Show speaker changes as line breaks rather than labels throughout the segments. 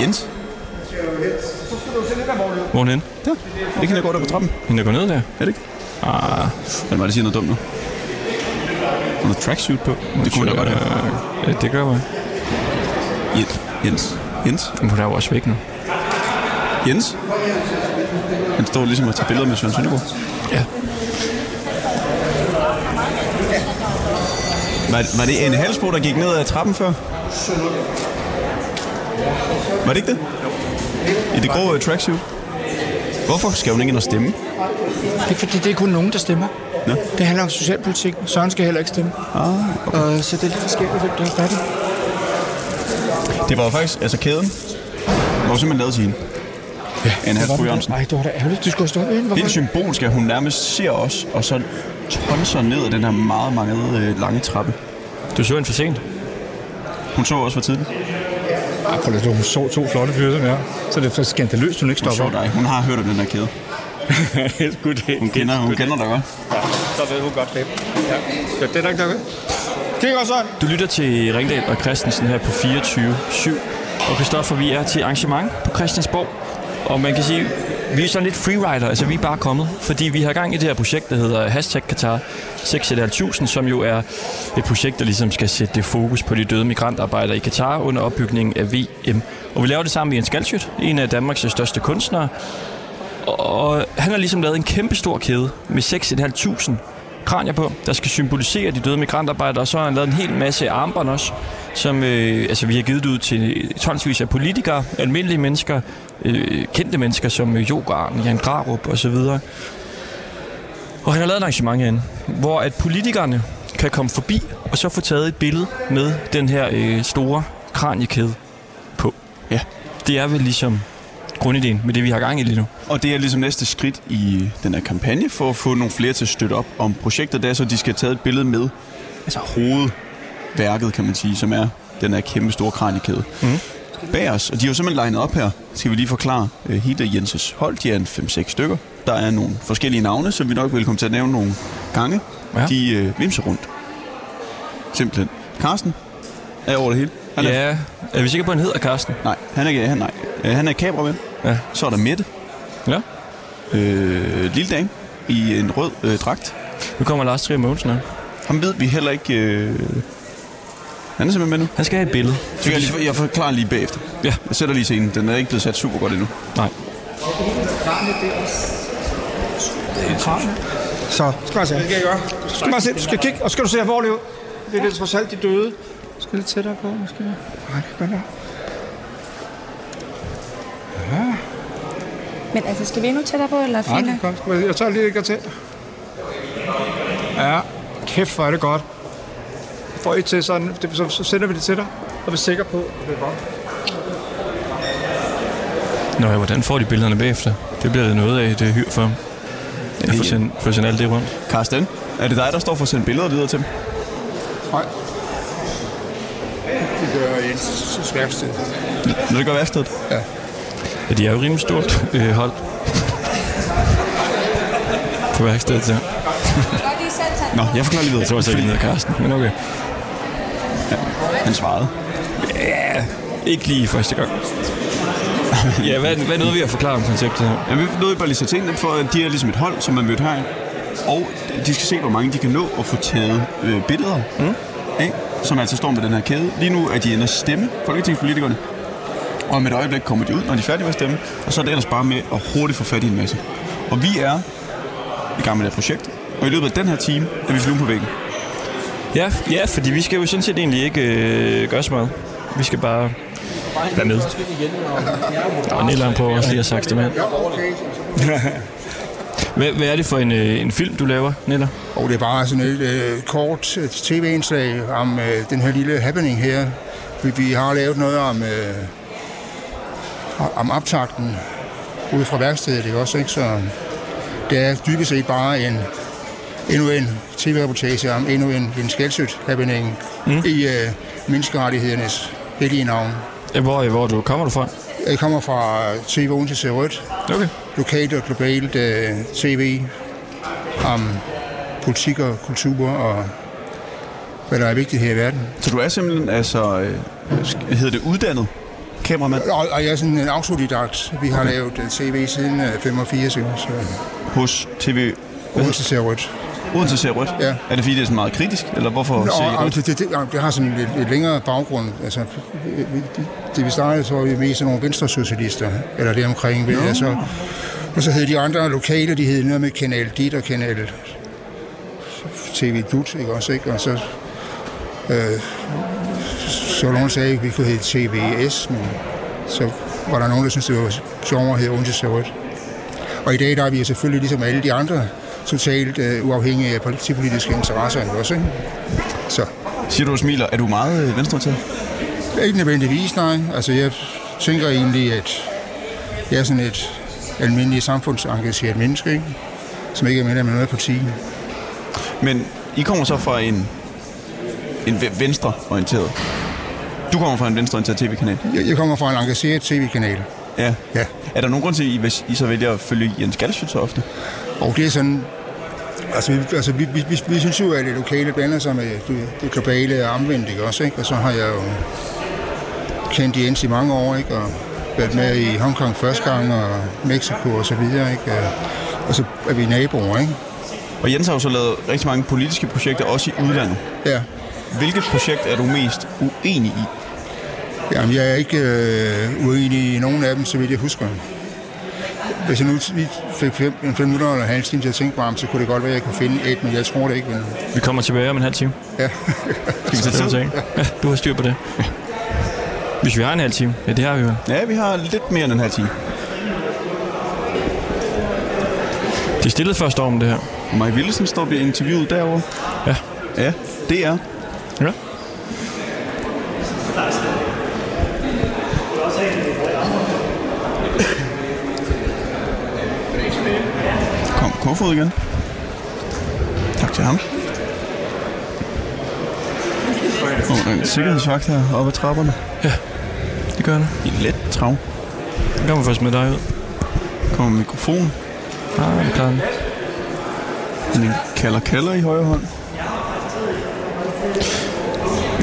Jens.
Hvorhen?
Der. Det kan jeg gå der på trappen.
Hende, der går ned der?
Er det ikke? Ah, er det mig, der siger noget dumt nu? Har noget tracksuit på? Det kunne man da godt have.
Øh, ja, det gør man.
Jens. Jens. Jens.
Men hun er jo også væk nu.
Jens. Han står ligesom og tager billeder med Søren Søndergaard.
Ja.
Var, var det en halsbro, der gik ned ad trappen før? Var det ikke det? I det grå uh, tracksuit? Hvorfor skal hun ikke ind og stemme?
Det er fordi, det er kun nogen, der stemmer.
Nå.
Det handler om socialpolitik. Søren skal heller ikke stemme.
Ah, okay.
Og øh, så det er lidt forskelligt, hvem der er færdig.
Det var jo faktisk, altså kæden var jo simpelthen lavet til hende. Ja, Anne Halsbro Jørgensen.
Nej, det var da ærgerligt. Du skulle have stået med hende.
Det er
Hvorfor?
symbolsk, at hun nærmest ser os, og så tonser ned ad den her meget, meget øh, lange trappe.
Du så hende for sent.
Hun så også for tidligt.
Ej, prøv lige, at- hun så to flotte fyre, som jeg. Så er det er skandaløst, hun ikke
Hun
stopper.
så dig. Hun har hørt om den her kæde.
Helt godt.
Hun kender, hun kender dig godt.
Så ved hun godt det. Ja. Så det er nok nok. Kig også sådan.
Du lytter til Ringdal og Christensen her på 24.7. Og Christoffer, vi er til arrangement på Christiansborg. Og man kan sige, vi er sådan lidt freerider, altså vi er bare kommet, fordi vi har gang i det her projekt, der hedder Hashtag Qatar 6.500, som jo er et projekt, der ligesom skal sætte det fokus på de døde migrantarbejdere i Katar under opbygningen af VM. Og vi laver det sammen med Jens Galschiøt, en af Danmarks største kunstnere, og han har ligesom lavet en kæmpe stor kæde med 6.500 kranier på, der skal symbolisere de døde migrantarbejdere, og så har han lavet en hel masse armbånd også, som øh, altså, vi har givet ud til tonsvis af politikere, almindelige mennesker, øh, kendte mennesker som øh, Jogarn, Jan Grarup osv. Og han har lavet et arrangement herinde, hvor at politikerne kan komme forbi og så få taget et billede med den her øh, store kraniekæde på.
Ja.
Det er vel ligesom grundideen med det, vi har gang i lige nu.
Og det er ligesom næste skridt i den her kampagne for at få nogle flere til at støtte op om projektet, der er så de skal tage et billede med altså hovedværket, kan man sige, som er den her kæmpe store kraniekæde. Mm. Bag os, og de er jo simpelthen legnet op her, skal vi lige forklare. øh, Hida Jenses hold, de er en 5-6 stykker. Der er nogle forskellige navne, som vi nok vil komme til at nævne nogle gange.
Ja.
Ja. De øh, vimser rundt. Simpelthen. Carsten er over det hele. Han er,
Ja, er vi sikre på, at han hedder Karsten?
Nej, han er, han, nej. Øh, han er kameramand.
Ja.
Så er der Mette.
Ja.
øh, lille dame i en rød øh, dragt.
Nu kommer Lars Trier Mogensen her.
Ham ved vi heller ikke... Øh... Han er simpelthen med nu.
Han skal have et billede.
Så jeg, lige, jeg forklarer lige bagefter.
Ja.
Jeg sætter lige scenen. Den er ikke blevet sat super godt endnu.
Nej.
Så skal jeg se. Det kan jeg gøre. Så skal man se. Du skal kigge, og så skal du se alvorligt ud. Det er det trods alt de døde. Jeg skal lidt tættere på, måske. Nej, det kan godt være.
Men altså, skal vi endnu tættere på, eller
Nej,
fint?
det kan godt være. Jeg tager lige et til. Ja, kæft, hvor er det godt. Får I til sådan, det- så så sender vi det til dig, og vi er sikre på, at det er godt.
Nå ja, hvordan får de billederne bagefter? Det bliver det noget af et hyr for ham. Jeg får sendt, får sendt alt det rundt.
Karsten, er det dig, der står for at sende billeder videre til dem?
Nej. Det gør Jens værksted.
Når det gør værkstedet?
Ja, de er jo rimelig stort øh, hold. på værkstedet der.
Nå, jeg forklarer lige videre.
Jeg tror altså ikke, han hedder Karsten, men okay.
Han svarede.
Ikke lige første gang. ja, hvad, hvad nåede vi at forklare om konceptet her?
Ja, vi nåede bare lige sætte scenen for, at de er ligesom et hold, som man mødte her. Og de skal se, hvor mange de kan nå at få taget øh, billeder mm. af, som altså står med den her kæde. Lige nu er de inde at stemme, folketingspolitikerne. Og om et øjeblik kommer de ud, når de er færdige med at stemme. Og så er det ellers bare med at hurtigt få fat i en masse. Og vi er i gang med det her projekt. Og i løbet af den her time er vi flue på væggen.
Ja, ja, fordi vi skal jo sådan set egentlig ikke øh, gøre så meget. Vi skal bare være med. Der var Nilan på også lige at sagt det med. Hvad, hvad er det for en, øh, en film, du laver, Niller?
Og det er bare sådan et øh, kort øh, tv-indslag om øh, den her lille happening her. Vi, vi har lavet noget om, øh, om optakten ude fra værkstedet, ikke også? Ikke? Så det er dybest set bare en, endnu en tv-reportage om endnu en, en skældsødt happening mm. i øh, menneskerettighedernes hellige navn.
Ja, Hvor, øh, hvor du, kommer du fra?
Jeg kommer fra TV Odense til Rødt,
Okay.
lokalt og globalt øh, tv om politik og kultur og hvad der er vigtigt her i verden.
Så du er simpelthen, altså, øh, sk- hedder det uddannet kameramand?
Og, og jeg er sådan en autodidakt. Vi har okay. lavet øh, tv siden øh, 85, ikke? så
Hos TV
Odense ser rødt.
Odense ser rødt?
Ja.
Er det fordi, det er sådan meget kritisk? Eller hvorfor
Nå,
ser I
og
rødt?
det, det, det, og det har sådan en lidt, lidt længere baggrund. Altså, vi- vi- det, det vi startede, så var vi mest sådan nogle venstresocialister, eller det omkring. No. Altså, og så hed de andre lokale, de hed noget med Kanal Dit og Kanal TV Dut, ikke også? Ikke? Og så, øh, så var nogen, der sagde, at vi kunne hedde TVS, men så var der nogen, der syntes, det var sjovere at hedde Odense Ser Rødt. Og i dag der er vi jo selvfølgelig ligesom alle de andre totalt øh, uafhængige af partipolitiske interesser ikke også, ikke? Så
Siger du og smiler, er du meget øh, venstreorienteret?
ikke nødvendigvis, nej. Altså jeg tænker egentlig, at jeg er sådan et almindeligt samfundsengageret menneske, ikke? som ikke er medlem af noget parti.
Men I kommer så fra en, en ve- venstreorienteret. Du kommer fra en venstreorienteret tv-kanal.
Jeg, jeg kommer fra en engageret tv-kanal,
Ja.
Ja.
Er der nogen grund til, at I, hvis I så vælger at følge Jens Galsø så ofte?
og det er sådan... Altså, vi, altså vi, vi, vi, vi synes jo, at det lokale blander sig med det, det globale og omvendt, ikke også, ikke? Og så har jeg jo kendt Jens i mange år, ikke? Og været med i Hongkong første gang, og Mexico og så videre, ikke? Og- Og så er vi naboer, ikke?
Og Jens har jo så lavet rigtig mange politiske projekter, også i udlandet.
Ja.
Hvilket projekt er du mest uenig i?
Jamen, jeg er ikke øh, uenig i nogen af dem, så vidt jeg husker. Hvis jeg nu t- lige fik fem, en fem minutter eller en halv time til at tænke på ham, så kunne det godt være, at jeg kunne finde et, men jeg tror det ikke. Men,
Vi kommer tilbage om en halv time.
ja.
Skal vi tage
Kan du
tid?
tænke? Ja, du har styr på det. Hvis vi har en halv time. Ja, det har vi jo.
Ja, vi har lidt mere end den her time.
De stillede først om det her.
Maja Willesen står og bliver interviewet derovre.
Ja.
Ja, det er.
Ja.
Kom, Kofod igen. Tak til ham. Og der er en sikkerhedsvagt her oppe ad trapperne.
Det gør det.
I let trav.
Det kommer først med dig ud.
Kommer mikrofon.
Ah, det klarer den.
Den kalder kalder i højre hånd.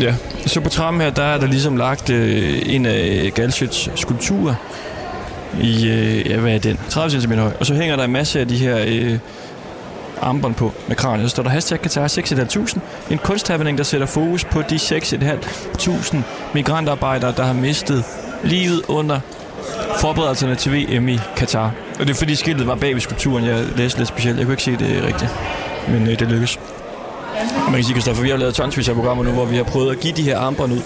Ja. Så på trappen her, der er der ligesom lagt øh, en af Galschøts skulpturer i, øh, ja, hvad er den? 30 cm høj. Og så hænger der en masse af de her øh, armbånd på med kraniet. Så står der hashtag Katar 6.500. En kunsthappening, der sætter fokus på de 6.500 migrantarbejdere, der har mistet livet under forberedelserne til VM i Katar. Og det er fordi skiltet var bag ved skulpturen, jeg læste lidt specielt. Jeg kunne ikke se det rigtigt, men øh, det lykkedes. Man kan sige, Christoffer, vi har lavet tonsvis af programmer nu, hvor vi har prøvet at give de her armbånd ud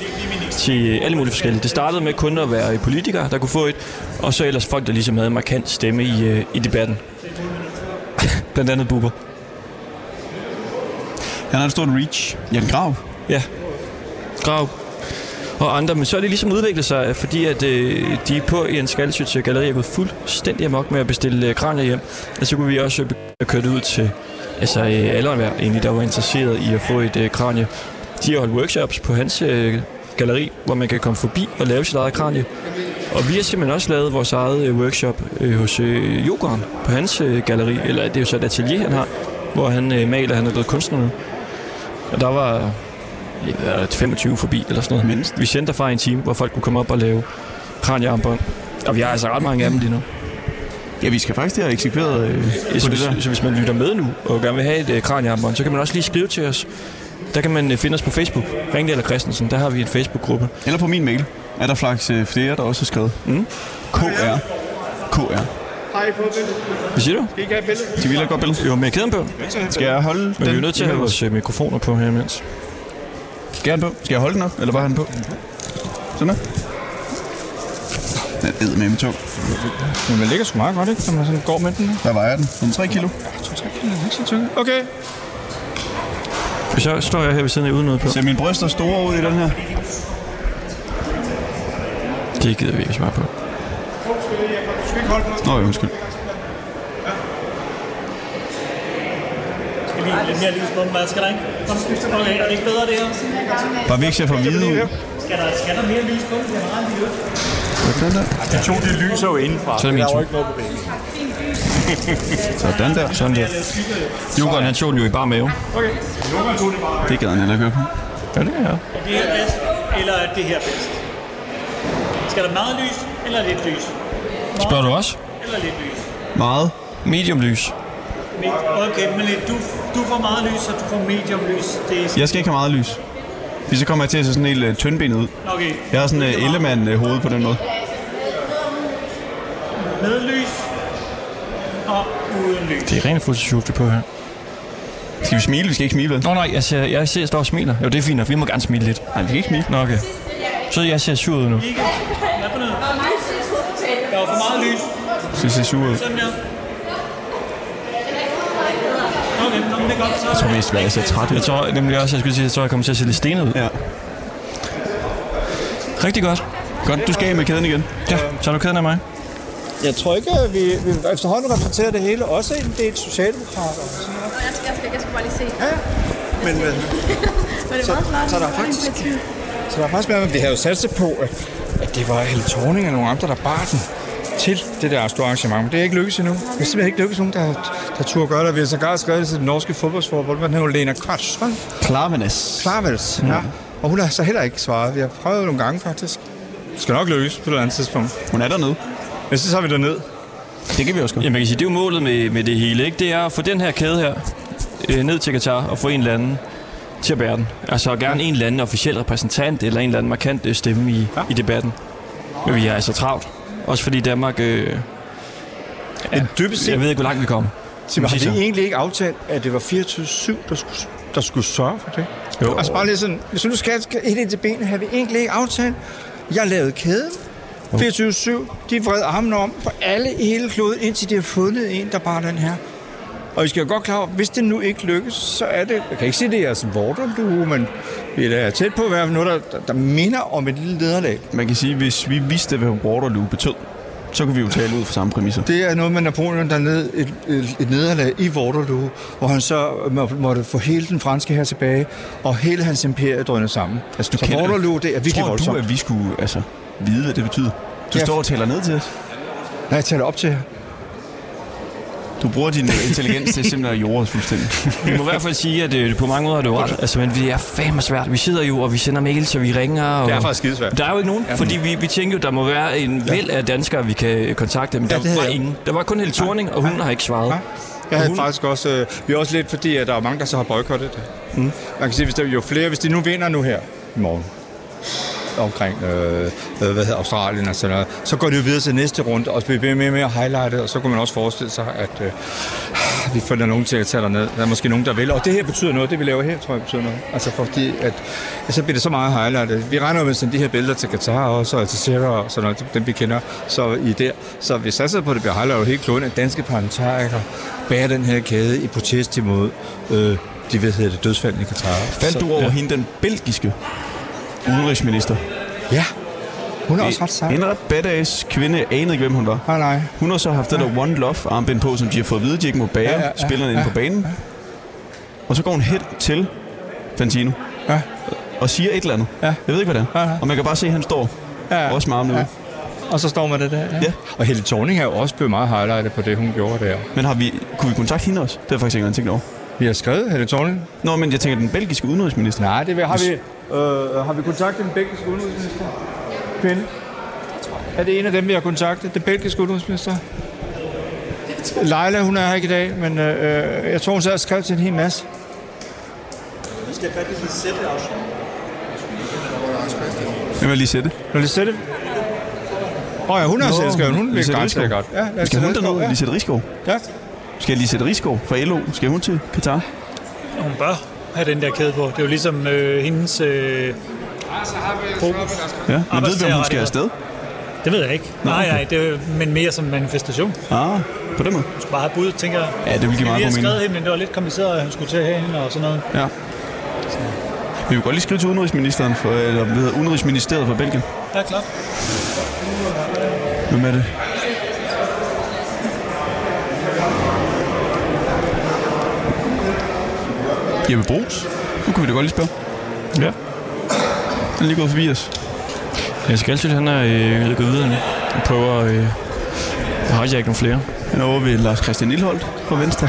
til alle mulige forskellige. Det startede med kun at være politikere, der kunne få et, og så ellers folk, der ligesom havde en markant stemme i, øh, i debatten. Blandt andet Bubber.
Han har et stort reach. Jan Grav.
Ja. Grav. Og andre, men så er det ligesom udviklet sig, fordi at øh, de på i en skaldsøts galeri er gået fuldstændig amok med at bestille øh, kranier hjem. Og så kunne vi også øh, begynde at køre det ud til altså, øh, alle og enhver, egentlig, der var interesseret i at få et øh, kranie. De har holdt workshops på hans øh, galeri, hvor man kan komme forbi og lave sit eget kranie. Og vi har simpelthen også lavet vores eget øh, workshop øh, hos øh, Jokeren på hans øh, galeri, eller det er jo så et atelier, han har, hvor han øh, maler, han er blevet kunstner nu. Og der var ja, 25 forbi eller sådan noget.
Mindst.
Vi sendte derfra i en time, hvor folk kunne komme op og lave kranjearmbånd. Og vi har altså ret mange af dem lige nu.
Ja, vi skal faktisk til at eksekvere øh,
Så
på det
hvis,
der.
så hvis man lytter med nu og gerne vil have et øh, kranjearmbånd, så kan man også lige skrive til os. Der kan man øh, finde os på Facebook. Ringdal eller Christensen, der har vi en Facebook-gruppe.
Eller på min mail. Er der flaks øh, flere, der også har skrevet?
Mm.
KR. KR.
Har I fået billedet?
Hvad siger du?
Skal I ikke have billedet?
De vil have et godt billede.
Jo, med kæden på.
Skal jeg holde
Men vi er
den?
jo nødt til at have vores øh, mikrofoner på her imens.
Skal jeg have den på? Skal jeg holde den op? Eller bare have den på? Sådan der. Den er eddermame tung.
Men den ligger sgu meget godt, ikke? Når man sådan går med den.
Der vejer den. Den er 3 kilo.
Okay.
Så står jeg her ved siden af uden noget på.
Ser mine bryster store ud i den her?
Det gider vi ikke svare på.
Nå, jo, undskyld.
Skal lige lidt mere lys på den, hvad skal der ikke? Kom. Okay, er det ikke bedre det her?
Bare vi ikke ser for hvide ud.
Skal der, skal der mere lys på den? Det er meget lille.
Sådan der.
De to, de lyser jo indenfra.
Så er det min tur.
Sådan der.
Sådan der. Jokeren, han tog den jo i bare mave.
Det gad han heller ikke høre på.
Ja, det er jeg.
Er det her bedst? Eller er det her bedst? Skal der meget lys eller lidt lys?
Spørger du også?
Eller lidt lys?
Meget.
Medium lys.
Me- Okay, men lidt- du, du får meget lys, og du får medium lys. Det er
Jeg skal ikke have meget lys. Fordi så kommer jeg til at se sådan helt uh, tyndbenet ud.
Okay.
Jeg har sådan et uh, ellemand-hoved på den måde.
Med lys og uden lys.
Det er rent fuldstændig på her.
Skal vi smile? Vi skal ikke smile, vel?
Nå nej, jeg, ser, jeg, ser, jeg står og smiler. Jo, det er fint nok. Vi må gerne smile lidt.
Nej, vi kan ikke smile.
Nå, okay. Så jeg ser sur ud nu.
Ikke? Hvad for noget? Der var for meget lys.
Så det ser sur ud.
Sådan der. Okay, nå, men det er godt. Så jeg
tror mest, at jeg ser træt ud.
Jeg tror nemlig også, jeg skulle sige, at jeg tror, jeg kommer til at se lidt stenet ud.
Ja.
Rigtig godt.
Godt, du skal af med kæden igen.
Ja, så er du keden af mig.
Jeg tror ikke, at vi, vi efterhånden repræsenterer det hele. Også en del socialdemokrater.
Jeg skal, jeg skal, jeg skal bare lige se.
Men, men
Var det meget flot?
så er der faktisk- så der er faktisk mere, men vi havde jo satset på, at, at det var Helle Thorning og nogle andre, der bar den til det der store arrangement. Men det er ikke lykkedes endnu. Det er simpelthen ikke lykkedes nogen, der, der turde gøre det. Vi har sågar skrevet det til den norske fodboldsforbund, men hun Lena Kvartstrøm
Klavenes.
Klarvels. Ja. Og hun har så heller ikke svaret. Vi har prøvet nogle gange faktisk. Det skal nok løses på et eller andet tidspunkt.
Hun er dernede.
Men så tager vi derned.
Det kan vi også godt.
Jamen, man kan sige, det er jo målet med, med det hele, ikke? Det er at få den her kæde her øh, ned til Katar og få en eller anden til at bære den. Altså gerne en eller anden officiel repræsentant eller en eller anden markant øh, stemme i, ja. i debatten. Men vi er altså travlt. Også fordi Danmark... Øh,
Men dybest set,
jeg ved ikke, hvor langt vi kommer.
Tim,
præcis
har vi
så.
egentlig ikke aftalt, at det var 24-7, der skulle, der skulle sørge for det?
Jo.
Altså bare lige sådan, hvis du nu skal skal helt ind til benet, har vi egentlig ikke aftalt. Jeg lavede kæden. 24-7, de vred armen om på alle i hele kloden, indtil de har fundet en, der bare den her. Og I skal jo godt klar over, hvis det nu ikke lykkes, så er det, jeg kan ikke sige, det er jeres vorderlue, men vi er da tæt på at være noget, der, der, der minder om et lille nederlag.
Man kan sige, hvis vi vidste, hvad Waterloo betød, så kunne vi jo tale ud fra samme præmisser.
Det er noget med Napoleon, der led et, et, et nederlag i Waterloo, hvor han så må, måtte få hele den franske her tilbage, og hele hans imperie drønede sammen.
Altså, du
så
kender-
Waterloo, det er virkelig
Tror
voldsomt.
du, at vi skulle altså, vide, hvad det betyder? Du
Ja.
står og taler ned til os.
Nej, jeg taler op til jer.
Du bruger din øh, intelligens til simpelthen at jorde os fuldstændig.
Vi må i hvert fald sige, at øh, på mange måder har du ret. Altså, men vi er fandme svært. Vi sidder jo, og vi sender mails, og vi ringer. Og...
Det er faktisk skidesvært.
Der er jo ikke nogen, fordi vi, vi tænker jo, der må være en væld af danskere, vi kan øh, kontakte, men
Ja,
ja,
det
der
havde
var
jeg.
ingen. Der var kun Helle Thorning, og hun har ikke svaret.
Jeg havde
Hun-
faktisk også... Øh, vi er også lidt, fordi at der er mange, der så har boykottet det. Mm. Man kan sige, hvis der, jo flere... Hvis de nu vinder nu her i morgen omkring øh, øh, hvad hedder Australien og sådan noget, så går det jo videre til næste runde, og så bliver vi mere og mere highlightet, og så kunne man også forestille sig, at øh, vi finder nogen til at tage derned. Der er måske nogen, der vil, og det her betyder noget, det vi laver her, tror jeg betyder noget. Altså fordi, at, at så bliver det så meget highlightet. Vi regner jo med at sende de her billeder til Qatar også, og til Sierra og sådan noget, dem vi kender, så i der. Så vi satser på, at det bliver highlightet over hele kloden, at danske parlamentarikere bærer den her kæde i protest imod øh, de, hvad hedder det, dødsfald i Qatar.
Faldt du over ja. hende, den belgiske udenrigsminister?
Ja, hun er også ret sej.
En ret badass kvinde. Jeg anede ikke, hvem hun var.
Nej, nej.
Hun har så haft det der One Love armbind på, som de har fået at vide, de ikke må bære
Ja,
ja,
ja,
ja,
ja,
spillerne inde
ja,
på banen. Og så går hun hen til Fantino
Ja.
og siger et eller andet.
Ja.
Jeg ved ikke, hvad det er.
Ja, ja.
Og man kan bare se, at han står
Ja.
også med armene ude.
Og så står man det der.
Ja.
Og Helle Thorning er jo også blevet meget highlightet på det, hun gjorde der.
Men har vi, kunne vi kontakte hende også? Det har jeg faktisk ikke engang tænkt over.
Vi har skrevet Helle Thorning.
Nå, men jeg tænker, den belgiske udenrigsminister.
Nej, det har vi.
Øh, har vi kontaktet den belgiske udenrigsminister? Kvinde? Er det en af dem, vi har kontaktet? Den belgiske udenrigsminister? Leila, hun er her ikke i dag, men øh, jeg tror, hun sad og skrev til en hel masse.
Hvem vil lige sætte?
Når Lisette... Åh oh, ja, hun er
Nå,
selvskrevet. Hun vil
Lisette
gerne
Risgaard.
godt. Ja, Lisette
Skal hun
Risgaard,
derned?
ja.
Lige sætte Rigskov?
Ja.
Skal lige sætte Rigskov fra LO? Skal hun til Katar?
Hun bør have den der kæde på. Det er jo ligesom øh, hendes... Øh,
Ja. Men ved du, om hun skal
Arbejdstagerrettigheder.
afsted?
det ved jeg ikke. Nej, nej, det er, jo- men mere som manifestation.
Ah, på den måde.
Hun skulle bare have bud, tænker jeg.
Ja, det vil give meget
Vi har
god mening.
skrevet hende, men det var lidt kompliceret, at han skulle til at have hende og sådan noget.
Ja. Vi vil godt lige skrive til udenrigsministeren for, eller hvad hedder, udenrigsministeriet for Belgien.
Ja, klart.
Hvem er det? Jeppe Brugs? Nu kunne vi da godt lige spørge.
Ja.
Han er lige gået forbi os.
Jeg skal altid, han er øh, gået videre nu. Og prøver at øh, hijack nogle flere.
Han er over ved Lars Christian Nilholdt fra Venstre.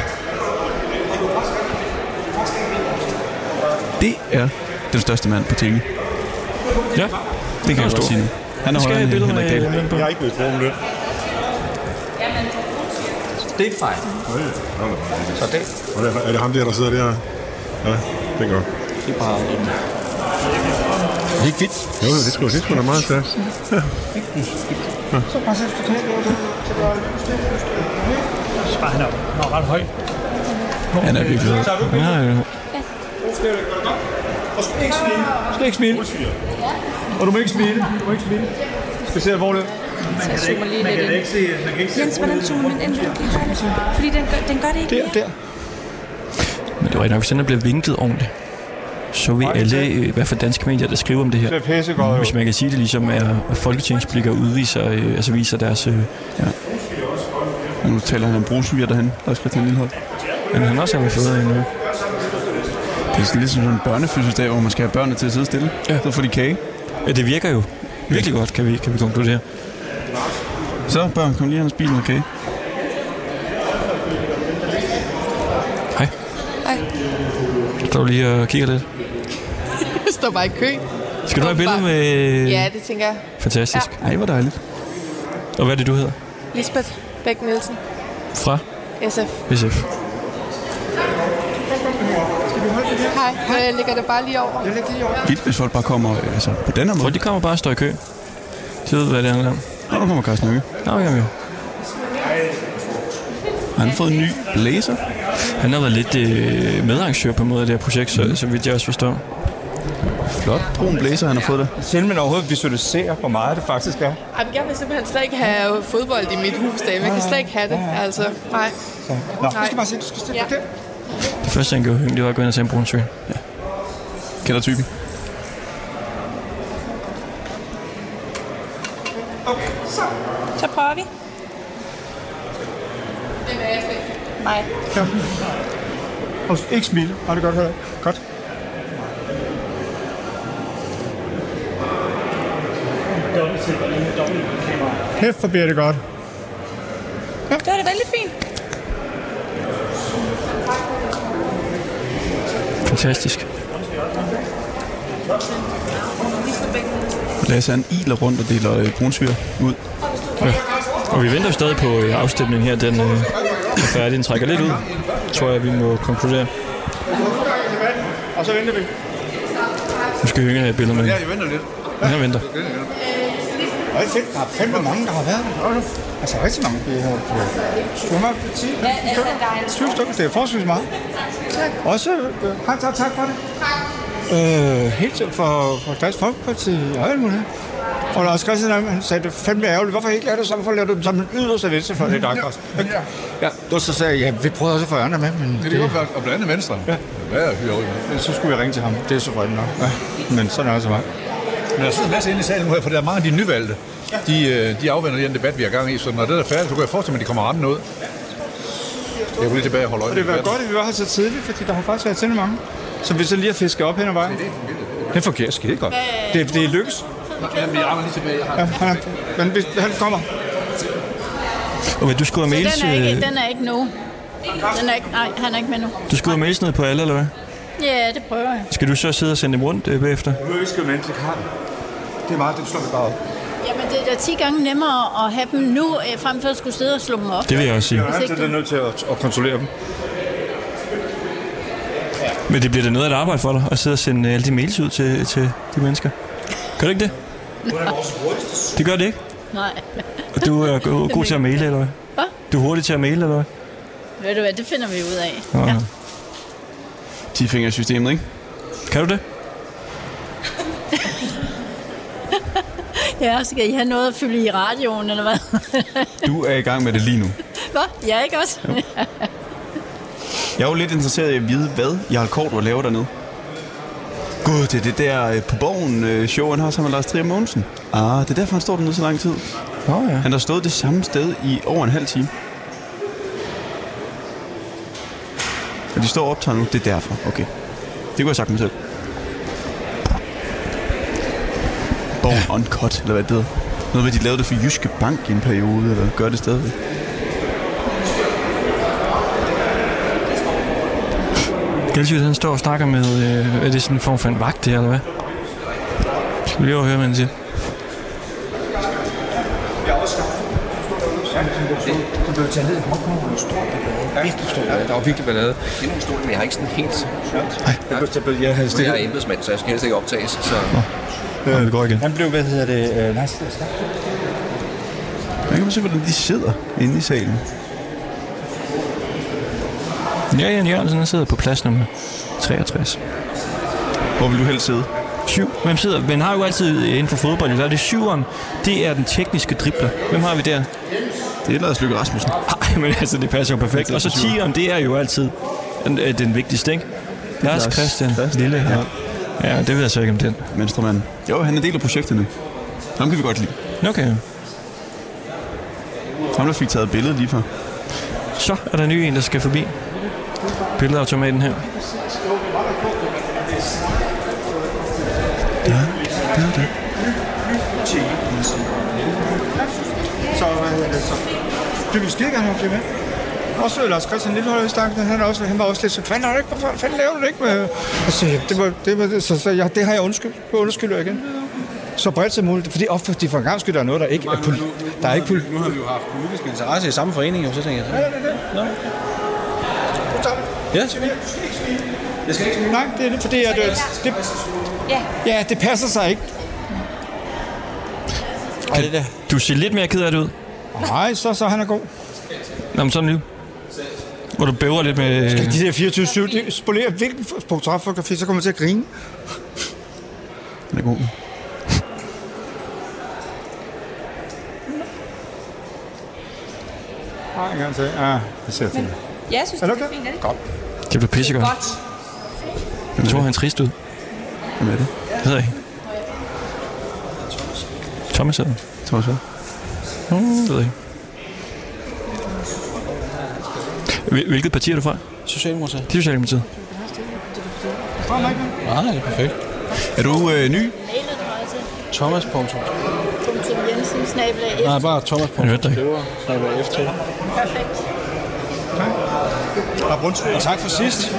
Det er den største mand på tinge.
Ja,
Det kan jeg
stor.
godt sige nu. Han er
Vi skal
højere
have
end
et billede
Henrik
med
Dahl.
Henrik på.
Jeg har ikke blevet spurgt om løn.
Det er fejl.
Så det. Og det er, er det ham der, der sidder der? Ja, det gør. Det er bare... Det er ikke fedt. Jo, jo, det er sgu, det er sgu da meget stærkt.
Bare han er, han er ret høj.
Han er virkelig høj. Ja, ja.
Og skal ikke smile. Skal ikke smile. Og du må ikke smile. Du må ikke smile. Specielt hvor det
Jeg zoomer lige lidt ind.
ikke se, man kan ikke se.
Jens, hvordan zoomer man ind? Fordi den gør, den gør det ikke
Der,
mere.
der.
Men det var ikke nok, sådan at blive vinklet ordentligt. Så vi alle, øh, hvad for danske medier, der skriver om det her.
Det er pissegodt, jo.
Hvis man kan sige det ligesom, at at folketingsblikker udviser, øh, altså viser deres... Øh,
Nu taler han om brugsviger derhen, der er Christian Lindholt.
men han også har været federe endnu.
Det er sådan lidt som sådan en børnefødselsdag, hvor man skal have børnene til at sidde stille. Ja. Så får de kage.
Ja, det virker jo virkelig godt, kan vi, kan vi konkludere.
Så børn, kom lige her og spis noget kage.
Jeg står lige og kigger lidt.
Jeg står bare i kø.
Skal du have et billede med...
Ja, det tænker jeg.
Fantastisk.
Ej, hvor dejligt.
Og hvad er det, du hedder?
Lisbeth Bæk Nielsen,
Fra
SF.
SF.
Hej, Øh, jeg lægger det bare lige over.
Vildt, hvis folk bare kommer øh, altså, på den her
Hvor
måde.
de kommer bare og står i kø. De ved, hvad det handler om.
Og nu kommer Carsten Høge.
Nå, jamen jo.
Har han fået en ny blazer?
Han har været lidt øh, medarrangør på en måde af det her projekt, så, så vidt jeg også forstår.
Flot brun blazer, han har fået der.
Selv man overhovedet visualiserer, hvor meget det faktisk er.
Jamen, jeg vil simpelthen slet ikke have fodbold i mit hus derhjemme. Jeg kan slet ikke have det, altså. Nej.
Nå,
Nej.
du skal bare se, du skal stille
Ja.
dig der.
Det første, han gjorde, det var at gå ind og tage en brun søg.
Kender typen.
Så prøver vi. Nej.
Og ikke smile. Har det godt, Henrik? Godt.
Dobbelt til, dobbelt kamera.
Kæft, hvor bliver det godt.
Det var det vældig fint.
Fantastisk.
Lasse, han iler rundt og deler øh, brunsviger ud.
Og vi venter jo stadig på øh, afstemningen her. Den øh, er færdig. Den trækker lidt ud, tror jeg, vi må konkludere.
Og så venter vi.
Nu skal Hønge have et billede med. Ja, jeg venter lidt. Han venter.
Og det er fedt. Der er fandme mange, der har været der. Hold nu. Altså rigtig mange. Det har svømmer 10,
altså,
20 stykker. Det er forholdsvis meget. Tak. Også øh, tak, tak, tak for det. Øh, helt til for, for Dansk Folkeparti og alt muligt. Og Lars Christian, han sagde, det er fandme ærgerligt. Hvorfor har I ikke lavet det sammen? Hvorfor lavede du dem sammen? Den yderste venstre for det, der også. Ja, og så sagde jeg, ja, vi prøvede også at få Ørne med, men
Det er godt være, og blandt andet Venstre. Ja. Hvad er vi over i?
men så skulle jeg ringe til ham. Det er så fredeligt nok. Ja. Men sådan er det så meget.
Men der sidder en masse inde i salen nu her, for der er mange af de nyvalgte. De, øh, de afvender den debat, vi har gang i, så når det er færdigt, så kan jeg forestille mig, at de kommer ramme ud. Jeg vil lige tilbage og holde øje
Og det var
med
godt, at vi var her så tidligt, fordi der har faktisk været temmelig mange, som vi så lige har fisket op hen ad vejen. Det fungerer skide godt. Det, det er lykkes.
debatten. Jamen, jeg rammer lige tilbage. Jeg har
Ja, han, er- men hvis- han kommer.
Og hvad, du skriver
Så
mails,
den er ikke,
øh,
den er ikke nu. Den er ikke, nej, han er ikke med nu.
du skriver mails ned på alle, eller hvad?
Ja, det prøver jeg.
Skal du så sidde og sende dem rundt øh, bagefter?
Nu ønsker vi en plakat. Det er meget, det slår vi bare op.
Jamen, det er da 10 gange nemmere at have dem nu, øh, frem for at skulle sidde og slå dem op.
Det vil jeg også sige.
Jeg er
ikke
altid
du-
der nødt til at, at kontrollere dem.
Men det bliver da noget af et arbejde for dig, at sidde og sende øh, alle de mails ud til, til de mennesker. Gør det ikke det? Det gør det ikke.
Nej.
Og du er go- god til at maile, eller hvad?
Hvad?
Du er hurtig til at maile, eller hvad?
Ved du hvad, det finder vi ud af.
Nå, ja.
Tifingersystemet, ikke?
Kan du det?
Ja, skal I have noget at fylde i radioen, eller hvad?
Du er i gang med det lige nu.
Hvad? Ja, ikke også?
Jeg er jo lidt interesseret i at vide, hvad Jarl Kortor laver dernede. Gud, det er det der øh, på bogen øh, show, han har sammen med Lars Trier Mogensen. Ah, det er derfor, han står dernede så lang tid.
Nå ja.
Han har stået det samme sted i over en halv time. Og de står og optager nu, det er derfor. Okay. Det kunne jeg sagt mig selv. Born ja. Uncut, eller hvad det hedder. Noget med, at de lavede det for Jyske Bank i en periode, eller gør det stadigvæk.
Gældsjød, han står og snakker med, øh, er det sådan en form for en vagt, det her, eller hvad? Skal vi lige overhøre, hvad han siger?
Du blev taget ned i Hongkong, hvor der var stor ballade. Virkelig stor
Ja, der var
virkelig ballade.
Det er nogle stoler, men jeg har ikke sådan helt...
Nej, jeg havde
Jeg er
stillet.
embedsmand, så jeg skal helst ikke optages. Så...
Ja, det går igen.
Han blev, hvad hedder det, øh, nej,
Der kan man se, hvordan de sidder inde i salen.
Ja, Jan Jørgensen han sidder på plads nummer 63.
Hvor vil du helst sidde?
Syv. Hvem sidder? Man har jo altid øh, inden for fodbold, der er det syveren. Det er den tekniske dribler. Hvem har vi der?
Det er Lars Løkke Rasmussen.
Nej, men altså, det passer jo perfekt. Og så tieren, det er jo altid den, øh, den vigtigste, ikke? Lars
Lars
Christian Lille. Ja. ja, det ved jeg så ikke om den.
Venstremanden. Jo, han er en del af projektet nu. Ham kan vi godt lide.
Okay.
Ham, der fik taget billedet lige før.
Så er der ny en, der skal forbi. Billedautomaten her.
Det er det.
Så hvad hedder det så? Du vil skide gerne have flere med. Også Lars Christian Lillehold i stanken, han, er også, han var også lidt så, fanden har du ikke, hvorfor fanden laver du det ikke med? Og så, det, var, det, var, så, så jeg, det har jeg undskyldt, det undskylder jeg igen. Så bredt som muligt, fordi ofte de for en gang skyld, der er noget, der ikke er, poli- der er ikke poli-
Nu har vi jo haft politisk interesse i samme forening, jo, så tænker jeg.
Ja, det er det.
Nå. Ja. Jeg skal ikke smile.
Nej, det er det, fordi at, øh, det, ja, det passer sig ikke.
Kan, du ser lidt mere ked af det ud.
Nej, så, så han er god.
Nå, men sådan lige. Hvor du bæver lidt med...
Skal de der 24-7, de spolerer hvilken portrætfotografi, så kommer man til at grine.
Den er god.
Nej, en gang til. Ja, det ser fint.
Ja, jeg synes,
Er
det
du
er
okay?
fint, er det?
Godt.
Det blev pissegodt.
Godt.
Jeg tror, han trist ud.
Hvem er det?
Det ved jeg ikke. Thomas hedder
Thomas hvad?
Hmm, det ved jeg ikke. Hvil- Hvilket parti er du fra?
Socialdemokratiet.
Det er Socialdemokratiet.
Nej, det er perfekt.
Er du øh, ny?
Mailet mig til
Thomas Pontus.
punktum Jensen, snabel
Nej, bare Thomas Pontus.
Jeg
skriver, snakker F til.
Perfekt.
Og tak for sidst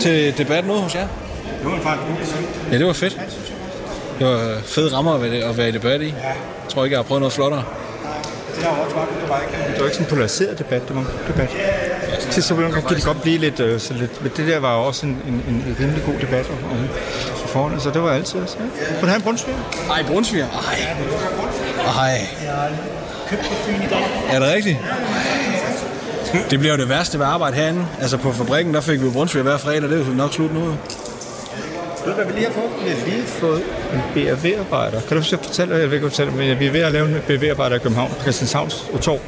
til debatten ude Øh, hos jer. Ja, det var fedt. Det var øh, fede rammer at være- at være i debat i. Jeg tror ikke, jeg har prøvet noget flottere.
Det var ikke sådan en polariseret debat, det var en god debat. Til så kan det godt blive lidt, øh, så lidt, men det der var jo også en, en, en rimelig god debat om, om forholdene, så det var altid også. Ja. Vil du have en brunsviger?
Ej, brunsviger? Ej. Ej. Er det rigtigt? Det bliver jo det værste ved at arbejde herinde. Altså på fabrikken, der fik vi jo brunsviger hver fredag. Det er jo nok slut nu. jo.
Ved du, hvad vi lige har fået? Vi har lige fået en BRV-arbejder. Kan du så fortælle, jeg vil ikke fortælle, men vi er ved at lave en BRV-arbejder i København på Christianshavns og Torv.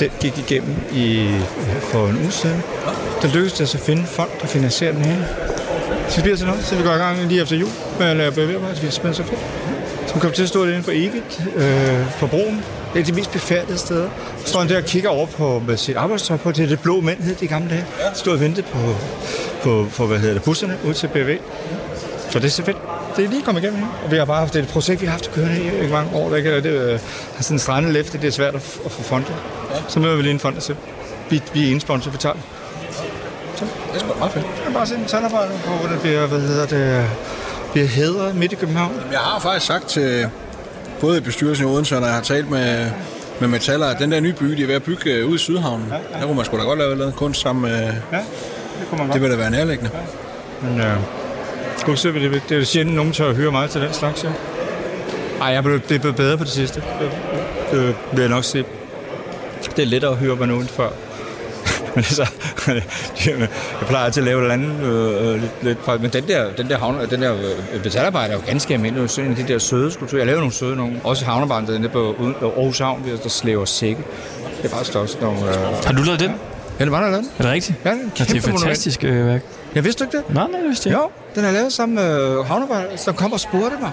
Den gik igennem i, for en uge siden. Der lykkedes det os at finde folk, der finansierer den her. Så vi bliver til noget, så vi går i gang lige efter jul med at lave BRV-arbejder. Det bliver simpelthen så fedt. Som kommer til at stå derinde for evigt øh, på broen. Det er de mest befærdede steder. Så står han der og kigger over på med sit arbejdstøj på. Det er det blå mænd, hed de i gamle dage. Stod og ventede på, på, på hvad hedder det, busserne ud til BRV. Så det er så fedt. Det er lige kommet igennem her. Og vi har bare haft det er et projekt, vi har haft kørende i ikke mange år. Der ikke, og det øh, har sådan en strandet læfte, det er svært at, f- at få fondet. Så møder vi lige en fond, så vi, vi er en sponsor, vi tager den.
Det er sgu da meget fedt.
Jeg kan bare se en tandarbejder, hvor det bliver, hvad hedder det, bliver hedret midt i København.
Jeg har faktisk sagt til både bestyrelsen i Odense, og når jeg har talt med, med metaller, at den der nye by, de er ved at bygge øh, ude i Sydhavnen, der kunne man sgu da godt lave noget kunst sammen med...
Ja, det kunne man godt.
Det ville da være nærliggende.
Men øh, skulle se, hvad det, det er jo sjældent, nogen tør at hyre mig til den slags, ja. Ej, jeg blev, det er blevet bedre på det sidste. Det, det vil jeg nok sige. Det er lettere at hyre mig nu end før. men så, jeg plejer altid at lave et eller andet øh, øh, lidt, lidt, men den der, den der, havne, den der øh, metalarbejder er jo ganske almindelig. Det er sådan en af de der søde skulpturer. Jeg laver nogle søde nogle. Også havnearbejder, den der på uden- Aarhus Havn, der slæver sække. Det er faktisk også nogle... Øh,
Har du lavet den?
Ja, det var der lavet.
Er det rigtigt?
Ja, det er en
Ja, det er et
kæmpe
fantastisk øh, værk.
Jeg vidste du ikke det?
Nej, nej, jeg vidste det ikke.
Jo, den er lavet sammen med havnearbejdere, som kom og spurgte mig.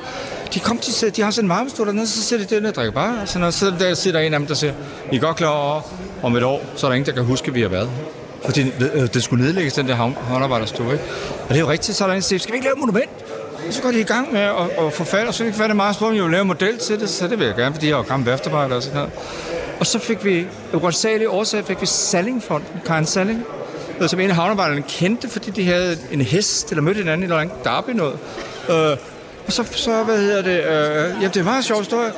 De, kom til, de har sådan en varmestol dernede, så sidder de dernede og drikker bare. Og sådan noget. Så der sidder en af dem, der siger, I er godt klar over, om et år, så er der ingen, der kan huske, at vi har været her." fordi øh, det skulle nedlægges, den der havn- håndarbejderstue, ikke? Og det er jo rigtigt, så er der en, der siger, skal vi ikke lave et monument? Og Så går de i gang med at, at forfalde, og så fik vi det meget spurgt, om jeg ville lave en model til det, så det vil jeg gerne, fordi jeg er jo gammel værftarbejdere og sådan noget. Og så fik vi, af uansagelige årsager, fik vi Sallingfonden, Karen Salling, øh, som en af havnearbejderne kendte, fordi de havde en hest, eller mødte hinanden i noget derby noget. Øh, og så, så, hvad hedder det, øh, jamen det er en meget sjov historie.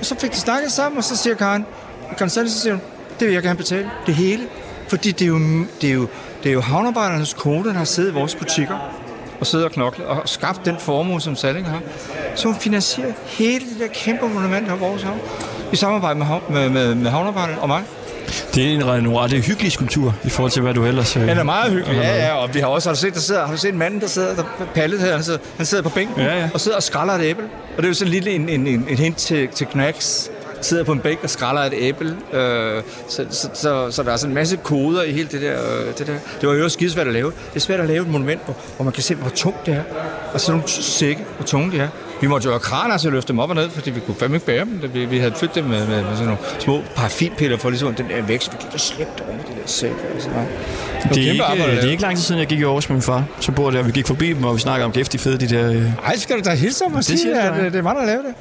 Og så fik de snakket sammen, og så siger Karen, Constantin, så siger hun, det vil jeg gerne betale, det hele. Fordi det er jo, det er jo, det er jo havnarbejdernes kone, der har siddet i vores butikker og siddet og knoklet og skabt den formue, som Salling har. Så hun finansierer hele det der kæmpe monument her i vores havn i samarbejde med, hav- med, med, med havnearbejderne og mig.
Det er en ret det er hyggelig skulptur i forhold til, hvad du ellers... øh,
Den er meget hyggelig.
har
Ja,
lavet.
ja, og vi har også har du set, der sidder, har du set manden, der sidder, der pallet her, han sidder, han sidder på bænken ja, ja. og sidder og skræller et æble. Og det er jo sådan en lille en, en, en, en hint til, til Knacks sidder på en bænk og skræller et æble. Øh, så, så, så, så, der er sådan en masse koder i hele det der. Øh, det, der. det var jo også skidesvært at lave. Det er svært at lave et monument, hvor, hvor man kan se, hvor tungt det er. Og sådan nogle sække, hvor tunge de er. Vi måtte jo have kraner til at løfte dem op og ned, fordi vi kunne fandme ikke bære dem. Da Vi, vi havde fyldt dem med, med, med sådan nogle små parafinpiller for ligesom den der vækst. Vi gik og slæbte over de der sække. Altså, nej. Det var
Det er,
kæmpe
ikke,
arbejde at
det er
lave.
ikke lang tid siden, jeg gik i Aarhus med min far. Så bor der, og vi gik forbi dem, og vi snakkede om kæft, de fede, de der... øh,
Ej, skal du da hilse ham og
Det
sige,
siger jeg
at
da.
øh, det er mig, der lavede det?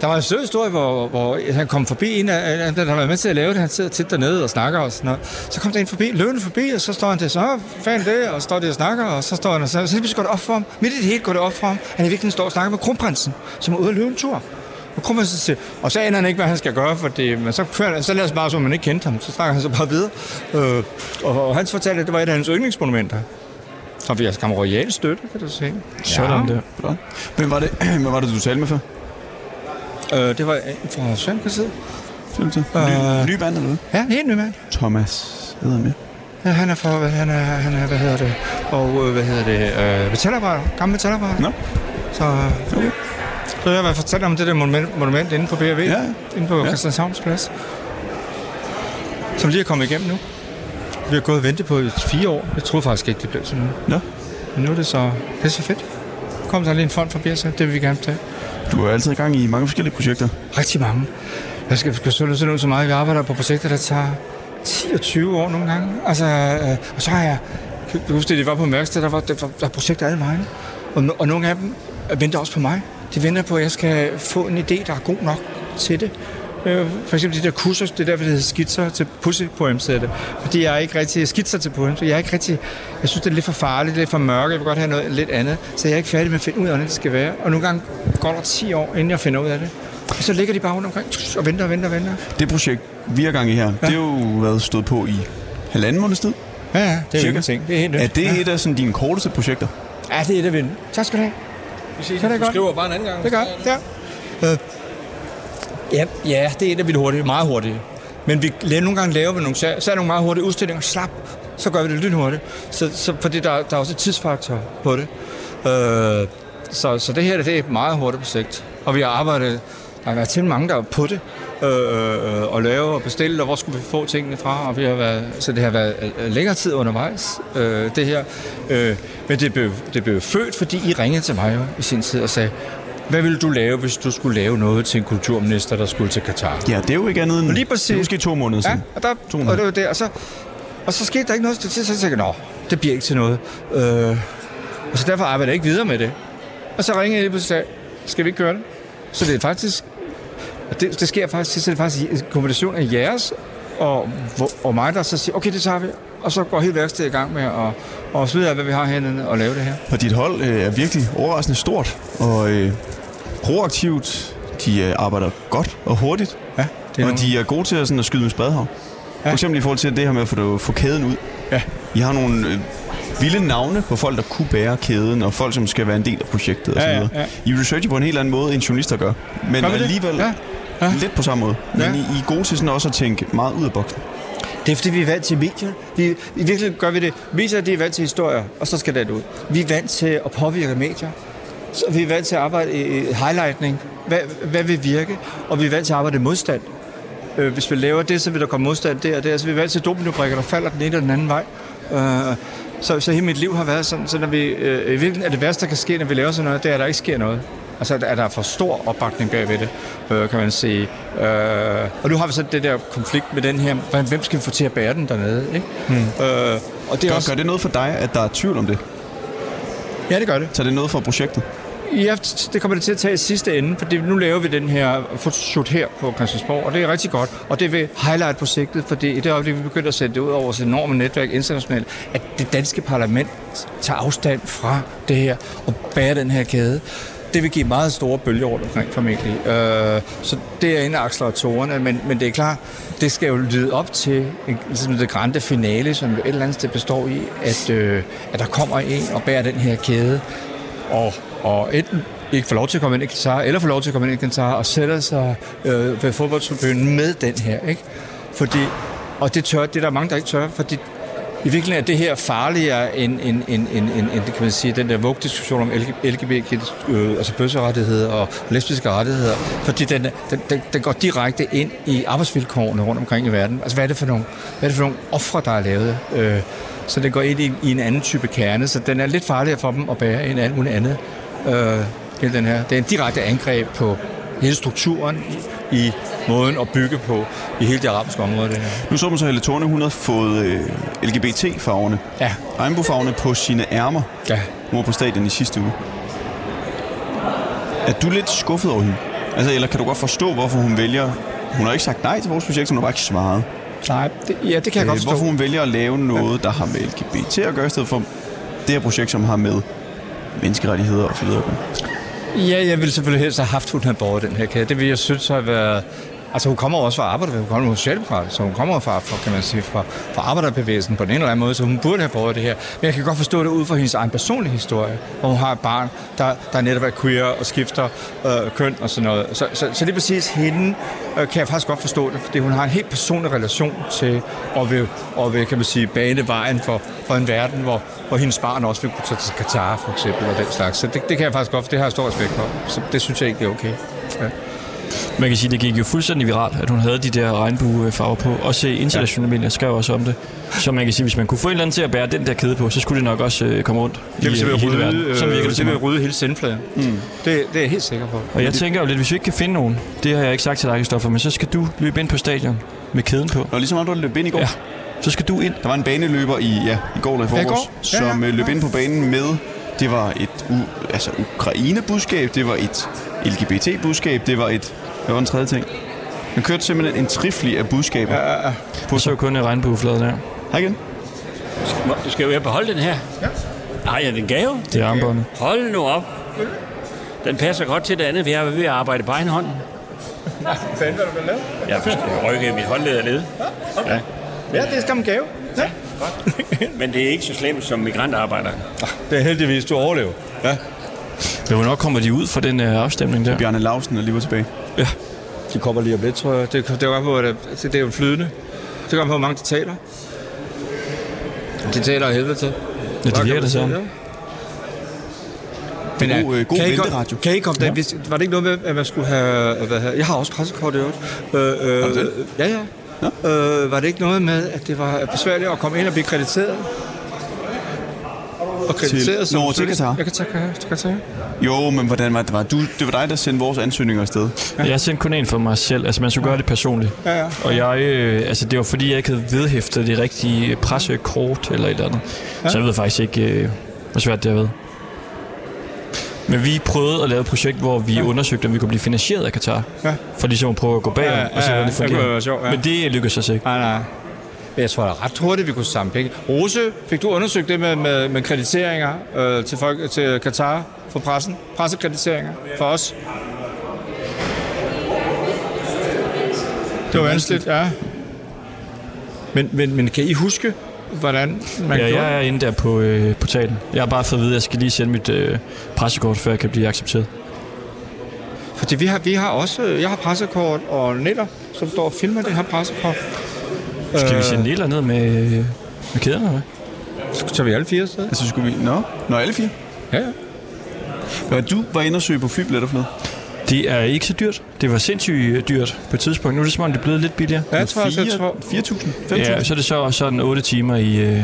Der var en sød historie, hvor, hvor han kom forbi en af, af- der har været med til at lave det. Han sidder tit dernede og snakker og sådan noget. Så kom der en forbi, løbende forbi, og så står han der, så "Åh, fanden det, og står der og snakker, og så står han og så, så lige går det op for ham. Midt i det hele går det op for ham. Han er virkelig står og snakker med kronprinsen, som er ude at løbe en tur. Og kronprinsen siger, og så aner han ikke, hvad han skal gøre, for det, men så, kører, så lader det bare, som om man ikke kendte ham. Så snakker han så bare videre. Øh, og, og, hans fortalte, at det var et af hans yndlingsmonumenter. Så vi har skam royal støtte, kan du se.
Sådan der. Hvem var det, hvem var det du talte med før?
Øh, det var en fra Sømkasset.
Ny,
Øh.
ny band eller hvad?
Ja, helt ny mand.
Thomas hedder han med.
Ja, han er fra, hvad- han er, han er, hvad hedder det, og øh, hvad hedder det, øh, metalarbejder, gammel metalarbejder.
Nå.
Så, øh, okay. så jeg har fortalt om det der monument, monument inde på BRV, ja. inde på ja. Christianshavns Plads, som lige er kommet igennem nu. Vi har gået og ventet på i fire år. Jeg troede faktisk ikke, det blev sådan
Nå.
Men nu er det så, det er så fedt. Kom der lige en fond forbi os, det vil vi gerne tage.
Du er altid i gang i mange forskellige projekter.
Rigtig mange. Jeg skal, skal sådan ud så meget, vi arbejder på projekter, der tager 10 og 20 år nogle gange. Altså, øh, og så har jeg... Kan du huske, det var på en værksted, der var, der, var, der var projekter alle vegne. Og, no- og nogle af dem venter også på mig. De venter på, at jeg skal få en idé, der er god nok til det. Øh, for eksempel de der kurser, det er derfor, det hedder skitser til pussepoems, hedder det. Fordi jeg er ikke rigtig skitser til poems, jeg er ikke rigtig, jeg synes, det er lidt for farligt, lidt for mørke, jeg vil godt have noget lidt andet, så jeg er ikke færdig med at finde ud af, hvordan det skal være. Og nogle gange går der 10 år, inden jeg finder ud af det. Og så ligger de bare rundt omkring og venter og venter og venter.
Det projekt, vi er gang i her, ja. det har jo været stået på i halvanden måneds tid.
Ja, ja, det er
Cirka.
ingenting. Det er helt nyt.
Er det
Ja.
ja. et af sådan, dine korteste projekter?
Ja, det er det, vi Tak skal du have.
ses.
Så er det
Du
godt.
skriver bare en anden gang.
Det er godt, ja. Øh, Ja, ja, det er et af vildt hurtige. Meget hurtige. Men vi laver nogle gange laver vi nogle, sær- særligt nogle meget hurtige udstillinger. Slap, så gør vi det lynhurtigt. Så, så, fordi der, der er også et tidsfaktor på det. Øh, så, så det her det er et meget hurtigt projekt. Og vi har arbejdet, der har været til mange, der er på det. Øh, øh, og lave og bestille, og hvor skulle vi få tingene fra. Og vi har været, så det har været øh, længere tid undervejs, øh, det her. Øh, men det blev, det blev født, fordi I ringede til mig jo, i sin tid og sagde, hvad ville du lave, hvis du skulle lave noget til en kulturminister, der skulle til Katar?
Ja, det er jo ikke andet end
Og lige præcis.
det er måske to måneder
Ja,
siden.
og, der,
To
og det var det, og så, og så skete der ikke noget et stykke tid, så tænkte jeg, nå, det bliver ikke til noget. Øh, og så derfor arbejder jeg ikke videre med det. Og så ringede jeg lige pludselig og sagde, skal vi ikke gøre det? Så det er faktisk, og det, det sker faktisk, så er det faktisk en kombination af jeres og, hvor- og mig, der så siger, okay, det tager vi. Og så går hele værkstedet i gang med at og slide af, hvad vi har hernede og lave det her.
Og dit hold øh, er virkelig overraskende stort og øh, proaktivt. De øh, arbejder godt og hurtigt.
Ja,
det er og de er gode til at, sådan, at skyde med spadhav. Ja. For eksempel i forhold til det her med at få, få kæden ud.
Ja.
I har nogle øh, vilde navne på folk, der kunne bære kæden, og folk, som skal være en del af projektet og
Ja,
så
ja,
videre.
ja.
I researcher på en helt anden måde, end journalister gør. Men
Gør vi det?
alligevel
Ja.
Ja. lidt på samme måde. Men
Ja.
I, I er gode til sådan også at tænke meget ud af boksen.
Det er fordi, vi er vant til medier. Vi, I virkeligheden gør vi det. Medier, de er vant til historier, og så skal det ud. Vi er vant til at påvirke medier. Så vi er vant til at arbejde i highlightning. Hvad, hvad vil virke? Og vi er vant til at arbejde i modstand. Øh, hvis vi laver det, så vil der komme modstand der og der. Så vi er vant til dominobrikker, der falder den ene og den anden vej. Øh, så, så hele mit liv har været sådan, så når vi, øh, i virkeligheden er det værste, der kan ske, når vi laver sådan noget, det er, at der ikke sker noget. Altså, at der er for stor opbakning bagved det, øh, kan man sige. Øh, og nu har vi så det der konflikt med den her, hvordan- hvem skal vi få til at bære den dernede, ikke? Hmm. Øh, og det er
gør,
også...
gør det noget for dig, at der er tvivl om det?
Ja, det gør det.
Så er det noget for projektet?
Ja, det kommer det til at tage i sidste ende, for nu laver vi den her fotoshoot her på Christiansborg, og det er rigtig godt. Og det vil highlight projektet, for det, i det øjeblik, vi begynder at sætte det ud over vores enorme netværk internationalt, at det danske parlament tager afstand fra det her og bærer den her kæde, det vil give meget store bølger rundt omkring formentlig. Øh, så det er en af acceleratorerne, men, men det er klart, det skal jo lyde op til en- ligesom det grande finale, som jo et eller andet sted består i, at, øh, at der kommer en og bærer den her kæde, og, og enten ikke får lov til at komme ind i Qatar, eller får lov til at komme ind i Qatar og sætter sig øh, ved fodboldtribunen med den her. Ikke? Fordi, og det tør, det er der mange, der ikke tør, fordi i virkeligheden er det her farligere end, end, end, end, end, end det kan man sige, den der vugdiskussion om LGBT, øh, altså bøsserettigheder og lesbiske rettigheder, fordi den, den, den, den, går direkte ind i arbejdsvilkårene rundt omkring i verden. Altså hvad er det for nogle, hvad er det for nogle ofre, der er lavet? Øh, så den går ind i, i en anden type kerne, så den er lidt farligere for dem at bære end alt muligt andet. Øh, hele den her. Det er en direkte angreb på hele strukturen i, i måden at bygge på i hele det arabiske område. Det her.
Nu så man så, at Helle Thorne, hun havde fået øh, LGBT-farverne,
ja.
regnbuefarverne på sine ærmer.
Ja.
Hun var på stadion i sidste uge. Er du lidt skuffet over hende? Altså, eller kan du godt forstå, hvorfor hun vælger... Hun har ikke sagt nej til vores projekt, hun har bare ikke svaret. Øh,
Nej, det, ja, det kan jeg godt forstå.
Hvorfor hun vælger at lave noget, der har med LGBT at gøre, i stedet for det her projekt, som har med menneskerettigheder osv. at gøre.
Ja, jeg ville selvfølgelig helst have haft, hun havde båret den her kæde. Det ville jeg synes har været... Altså, hun kommer også fra arbejder, hun kommer fra socialdemokrat, så hun kommer fra, fra, kan man sige, fra, fra arbejderbevægelsen på den ene eller anden måde, så hun burde have båret det her. Men jeg kan godt forstå det ud fra hendes egen personlige historie, hvor hun har et barn, der, der netop er queer og skifter øh, køn og sådan noget. Så, så, så lige præcis hende øh, kan jeg faktisk godt forstå det, fordi hun har en helt personlig relation til, og vil, og vil kan man sige, bane vejen for, for en verden, hvor, hvor hendes barn også vil kunne tage til Katar for eksempel og den slags. Så det, det kan jeg faktisk godt, det har jeg stor respekt for. Så det synes jeg ikke er okay. Ja.
Man kan sige, det gik jo fuldstændig viralt, at hun havde de der regnbuefarver på. Også øh, internationale ja. medier skrev også om det. Så man kan sige, hvis man kunne få en eller anden til at bære den der kæde på, så skulle det nok også øh, komme rundt
Det
i, øh,
vil
i
simpelthen
hele verden.
rydde, øh,
Sådan virker det,
det vil
simpelthen.
rydde hele sendfladen. Mm. Det, det er jeg helt sikker på.
Og jeg tænker jo lidt, hvis vi ikke kan finde nogen, det har jeg ikke sagt til dig, Kristoffer, men så skal du løbe ind på stadion med kæden på.
Og ligesom om du løb ind i går. Ja.
Så skal du ind.
Der var en baneløber i, ja, i går eller i
Ja, i
forgårs,
går.
ja,
Ja,
som
ja,
ja, løb
ja.
ind på banen med, det var et u, altså Ukraine-budskab, det var et LGBT-budskab, det var et, hvad var den tredje ting? Han kørte simpelthen en trifli af budskaber. Ja,
ja, ja.
På
så kun øh, en regnbueflade der.
Hej igen.
Du skal jo jeg beholde den her. Ja. Ej, er det en gave?
Det er armbåndet.
Hold nu op. Den passer godt til det andet, for jeg er ved at arbejde på egen hånd.
Fanden, hvad du vil lave?
Jeg skal rykke mit håndled ned. Ja.
Ja, det er skam en gave. Ja.
Men det er ikke så slemt som migrantarbejder.
Det er heldigvis, du overlever.
Ja.
Men hvornår kommer de ud fra den øh, afstemning der?
Bjarne Lausen er lige var tilbage.
Ja.
De kommer lige om lidt, tror jeg. Det, det, er, på, at det, det er jo flydende. Det kommer på, hvor mange de taler. De taler af helvede til.
Ja, det virker det sådan.
Men
God,
øh,
øh, god
kan I ikke-
venteradio.
Kan I ikke komme
Ja.
ja. hvis, Var det ikke noget med, at man skulle have... Hvad, her- jeg har også pressekort i øvrigt. Øh, øh,
Har du det?
øh, ja, ja. Øh, var det ikke noget med, at det var besværligt at komme ind og blive krediteret? Og krediteret som...
Nå, til Qatar.
Jeg kan tage, kan tage.
Jo, men hvordan var det? Var du, det var dig, der sendte vores ansøgninger afsted.
Jeg sendte kun en for mig selv. Altså, man skulle gøre det personligt.
Ja, ja.
Og jeg, øh, altså, det var fordi, jeg ikke havde vedhæftet det rigtige pressekort eller et eller andet. Ja. Så jeg ved faktisk ikke, øh, hvor svært det har været. Men vi prøvede at lave et projekt, hvor vi ja. undersøgte, om vi kunne blive finansieret af Katar.
Ja.
For ligesom at prøve at gå bagom ja, ja, ja, og se, hvordan det
kunne
fungerer.
være sjovt, ja.
Men det lykkedes os ikke.
Nej, nej. Men jeg tror da ret hurtigt, vi kunne samle penge. Rose, fik du undersøgt det med, med, med krediteringer øh, til, folk, til Katar for pressen? Pressekrediteringer for os? Det var vanskeligt, ja. Men, men, men kan I huske, hvordan man
Man ja,
gjorde
jeg er inde der på øh, portalen. Jeg har bare fået at vide, at jeg skal lige sende mit øh, pressekort, før jeg kan blive accepteret.
Fordi vi har, vi har også, jeg har pressekort og Neller, som står og filmer det her pressekort.
Skal vi sende Nilla ned med, med kæderne, hvad?
Så tager vi alle fire afsted.
Altså, skulle vi... Nå, Nå alle fire?
Ja, ja.
Hvad du var inde og søge på flybilletter for noget?
Det er ikke så dyrt. Det var sindssygt øh, dyrt på et tidspunkt. Nu er det som om, det er blevet lidt billigere.
Ja, jeg tror også, jeg tror...
4.000? 5.000?
Ja, så er det så sådan 8 timer i, øh,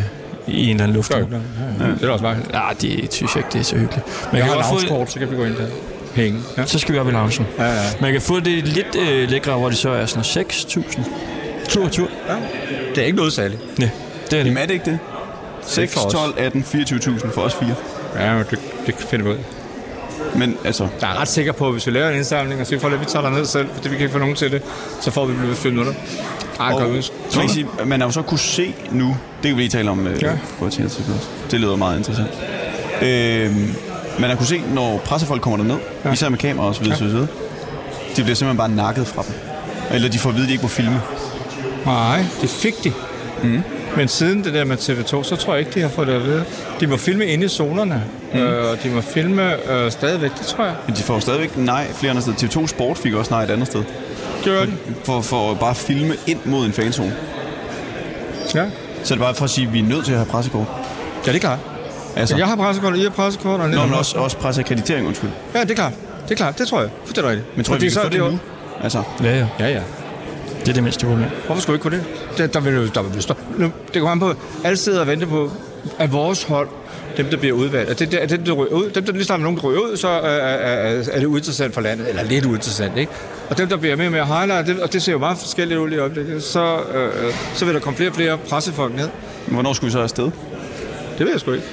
i en eller anden lufthavn.
Ja, ja. Det er også meget
Ja, det synes jeg ikke, det er så hyggeligt.
Men jeg har
godt få-
loungekort, så kan vi gå ind der. Penge. Ja.
Så skal vi op i loungen.
Ja, ja.
Man kan få det lidt øh, lækre, hvor det så er sådan noget 6.000. Tur og tur.
Ja. Det er ikke noget særligt.
Nej, det er det.
Jamen er det ikke det?
er ikke
6,
for os.
12, 18, 24.000 for os fire.
Ja, men det, det finder vi ud
Men altså...
Jeg er ret sikker på, at hvis vi laver en indsamling og siger, for at vi tager ned selv, fordi vi kan ikke få nogen til det, så får vi blevet fyldt med det. Ej,
Og
godt
man,
huske.
kan sige, man har jo så kunne se nu, det kan vi lige tale om, øh,
Ja.
ja. på et senere tidspunkt. Det lyder meget interessant. Øh, Man har kunne se, når pressefolk kommer derned, ja. især med kamera og så videre, ja. så videre, de bliver simpelthen bare nakket fra dem. Eller de får at vide, at de ikke må filme.
Nej, det fik de. Mm. Men siden det der med TV2, så tror jeg ikke, de har fået det at vide. De må filme inde i zonerne, mm. øh, og de må filme øh, stadigvæk, det tror jeg.
Men de får stadigvæk nej flere andre steder. TV2 Sport fik også nej et andet sted.
Gjorde de?
For, for at bare at filme ind mod en fanzone.
Ja.
Så det er bare for at sige, at vi er nødt til at have pressekort.
Ja, det er klart. Altså. Jeg har pressekort, og I har pressekort. Og
Nå, men også, også presseakkreditering, undskyld.
Ja, det er klart. Det er klart, det tror jeg. For det er rigtigt.
Men tror jeg,
Fordi
vi kan
så
få
er
det
jo-
nu? Altså.
Ja, ja.
Ja, ja.
Det er det mindste problem.
Hvorfor skulle vi ikke kunne det? Der, der vil jo der vil blive stop. Nu, det går an på, alle sidder og venter på, at vores hold, dem der bliver udvalgt, at det, det, at dem, der ryger ud, dem der lige snart nogen der ryger ud, så øh, er, er, er, er det uinteressant for landet, eller lidt uinteressant, ikke? Og dem, der bliver mere og mere highlight, det, og det ser jo meget forskelligt ud i øjeblikket, så, øh, øh, så vil der komme flere og flere pressefolk ned.
Hvornår skulle vi så afsted?
Det ved jeg sgu ikke.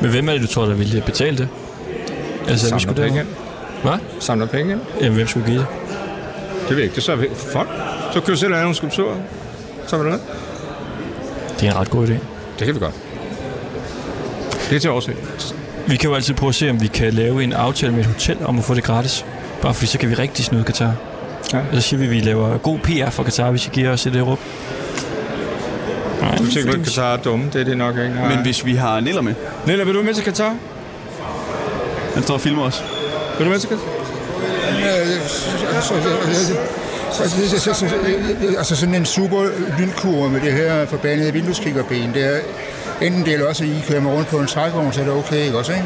Men hvem er det, du tror, der ville betale det? Altså,
Samler penge
derover? Hvad?
Samler penge ind.
Jamen, hvem skulle give det?
Det ved jeg ikke, det så er folk. Så køber selv nogle skulpturer. Så er det
Det er en ret god idé.
Det kan vi godt. Det er til at overse.
Vi kan jo altid prøve at se, om vi kan lave en aftale med et hotel om at få det gratis. Bare fordi så kan vi rigtig snyde Katar.
Ja.
Og så siger vi, at vi laver god PR for Katar, hvis I giver os et euro. Nej,
Du tænker, at Katar er dumme. Det er det nok ikke.
Men hvis vi har Niller med.
Niller, vil du med til Katar?
Han står og filmer os.
Vil du med til Katar?
Altså sådan en super lynkurve med det her forbandede vindueskikkerben, det er enten det eller også, at I kører med rundt på en trækvogn, så er det okay, ikke også, ikke?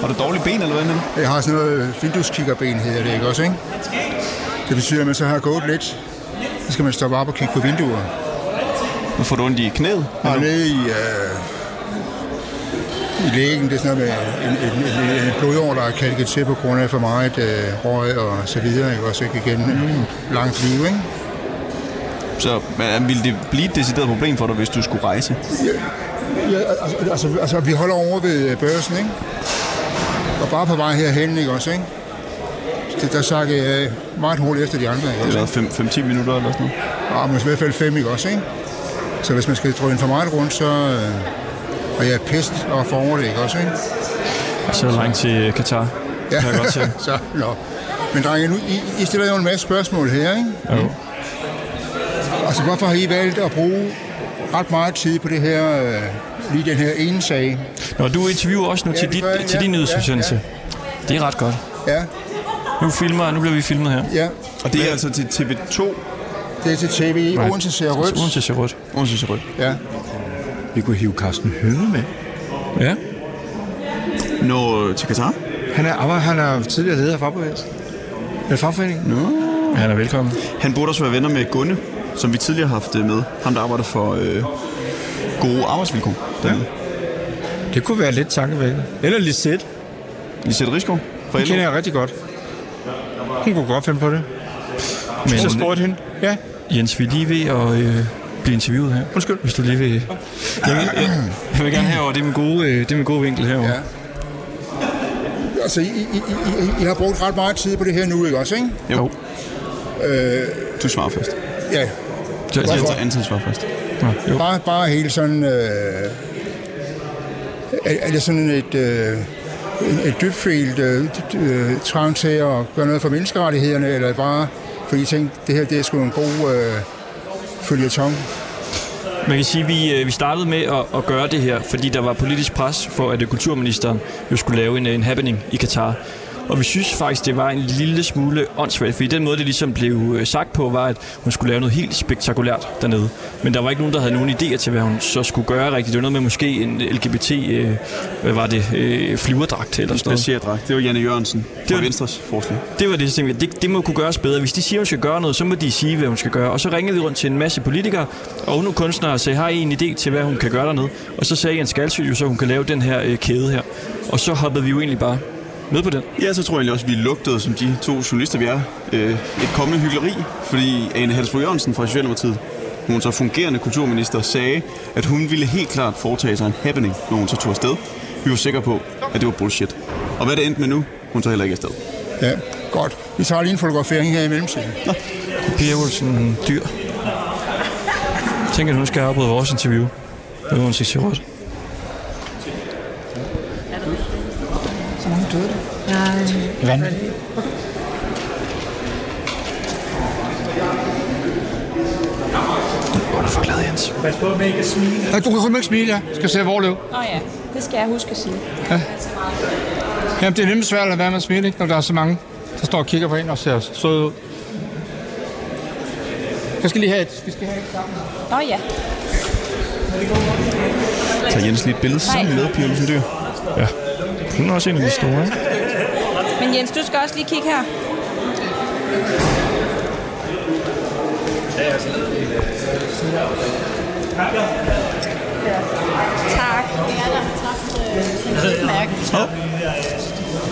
Har du dårlige ben, eller hvad?
Jeg har sådan noget vindueskikkerben, hedder det, ikke også, ikke? Det betyder, at man så har gået lidt, så skal man stoppe op og kigge på vinduer.
Nu får du ondt i knæet?
Nej, nede i, øh, i lægen, det er sådan noget med en, en, en, en blodår, der er kalket til på grund af for meget øh, røg og så videre, ikke også, ikke igen? Mm. Langt liv, ikke?
Så men, ville det blive et decideret problem for dig, hvis du skulle rejse?
Ja, altså, altså, altså, vi holder over ved øh, børsen, ikke? Og bare på vej herhen, ikke også, ikke? Det, der sakkede jeg af meget hurtigt efter de andre, ikke
Det
også?
har været 5-10 minutter eller sådan noget.
Ja, men i hvert fald fem, ikke også, ikke? Så hvis man skal drøne for meget rundt, så... Øh, og jeg er pest og forover det, ikke også, ikke?
Så er der langt til Katar.
Ja.
Kan jeg godt se.
så, nå. Men drenge, nu, I, I stiller jo en masse spørgsmål her, ikke?
Jo.
Altså, hvorfor har I valgt at bruge ret meget tid på det her, øh, lige den her ene sag?
Nå, du interviewer også nu
Ja,
til,
det
dit,
gør jeg,
til
ja,
din
ja,
nyhedsudsendelse. Det er ret godt.
Ja.
Nu, filmer, nu bliver vi filmet her.
Ja.
Og det er altså til TV2?
Det er til TV.
Nej.
Odense ser rødt.
Odense ser rødt.
Odense ser rødt.
Ja.
Vi kunne hive Carsten Hønge med.
Ja.
Nå, øh, til Katar?
Han er, arbejder, han er tidligere leder af fagbevægelsen. Eller fagforeningen.
Nå.
Han er velkommen.
Han burde også være venner med Gunne, som vi tidligere har haft øh, med. Ham, der arbejder for øh, gode arbejdsvilkår. Ja.
Det kunne være lidt tankevækkende. Eller Lisette.
Lisette Rigsgaard? fra
Hun
LO.
kender jeg rigtig godt. Hun kunne godt finde på det. Men, så spurgte hende. Ja.
Jens, vi er lige ved at øh, blive interviewet her. Undskyld. Hvis du lige vil... Jeg vil, jeg, jeg vil gerne herover. Det er min gode, øh, det er min gode vinkel herover. Ja.
Altså, I, I, I, I, I har brugt ret meget tid på det her nu, ikke også, ikke?
Jo.
Øh,
Du svarer først.
ja.
Du,
Hvorfor?
jeg Anton svarer først.
Jo.
Bare, bare helt sådan... Øh, er, er det sådan et, øh, en- et dybfølt øh, dybt, øh, trang til at gøre noget for menneskerettighederne, eller bare fordi I tænkte, det her det er sgu en god øh, følgetong?
Man kan sige, at vi, øh, vi startede med at, at gøre det her, fordi der var politisk pres for, at øh, kulturministeren jo skulle lave en, øh, en happening i Katar. Og vi synes faktisk, det var en lille smule åndssvagt, fordi den måde, det ligesom blev øh, sagt på, var, at hun skulle lave noget helt spektakulært dernede. Men der var ikke nogen, der havde nogen idéer til, hvad hun så skulle gøre rigtigt. Det var noget med måske en LGBT, øh, hvad var det, øh, flyverdragt eller sådan noget.
Passagerdragt. Det var Janne Jørgensen fra Venstres forslag.
Det var det, jeg tænkte, det, det må kunne gøres bedre. Hvis de siger, hun skal gøre noget, så må de sige, hvad hun skal gøre. Og så ringede vi rundt til en masse politikere og nu kunstnere og sagde, har I en idé til, hvad hun kan gøre dernede? Og så sagde Jens Galsø jo, så hun kan lave den her øh, kæde her. Og så hoppede vi jo egentlig bare med på den.
Ja, så tror jeg egentlig også, at vi lugtede, som de to journalister, vi er, øh, et kommende hyggeleri, fordi Ane Halsbro Jørgensen fra Socialdemokratiet, hun så fungerende kulturminister, sagde, at hun ville helt klart foretage sig en happening, når hun så tog afsted. Vi var sikre på, at det var bullshit. Og hvad det endte med nu, hun så heller ikke afsted.
Ja, godt. Vi tager lige en fotografering her i mellemtiden.
Pia Olsen Dyr. Jeg tænker, at hun skal have afbryde vores interview. Det var hun sige rødt.
døde der.
Nej.
Vanvittigt.
Underforklaret, Jens.
Pas på med ikke at smile.
Nej, du kan simpelthen ikke smile, ja. Skal se Vorlev.
Åh oh, ja, det skal jeg huske at sige.
Ja. Jamen, det er nemlig svært at lade være med at smile, ikke? når der er så mange, der står og kigger på en og ser søde ud. Jeg skal lige have et. Vi skal have et sammen.
Nå oh, ja.
Tag Jens lige et billede sammen med Pia Olsen Dyr. Ja. Hun er også en af de store, ikke?
Men Jens, du skal også lige kigge her. Tak.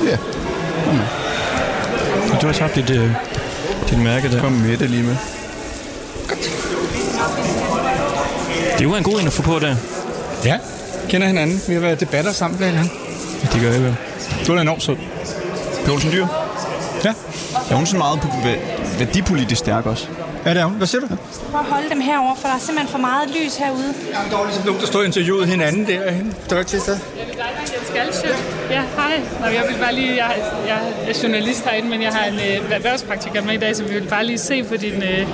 Ja.
Du har tabt dit, øh, dit mærke der. Kom med det lige med. Det var en god en at få på der.
Ja, kender hinanden. Vi har været i debatter sammen blandt andet.
Ja, det gør jeg vel.
Du er enormt sød.
Pjolsen Dyr?
Ja.
Er hun sådan meget pu- væ- værdipolitisk stærk også?
Ja, det er hun. Hvad siger du?
Prøv at holde dem herover, for der er simpelthen for meget lys herude.
Der var ligesom nogen, der stod og interviewede hinanden derhen. Der var ikke til sted.
Jeg vil gerne Jens Galsjø. Ja, hej. Nå, jeg vil bare lige, jeg, jeg er journalist herinde, men jeg har en øh, erhvervspraktikant med i dag, så vi vil bare lige se på din, øh,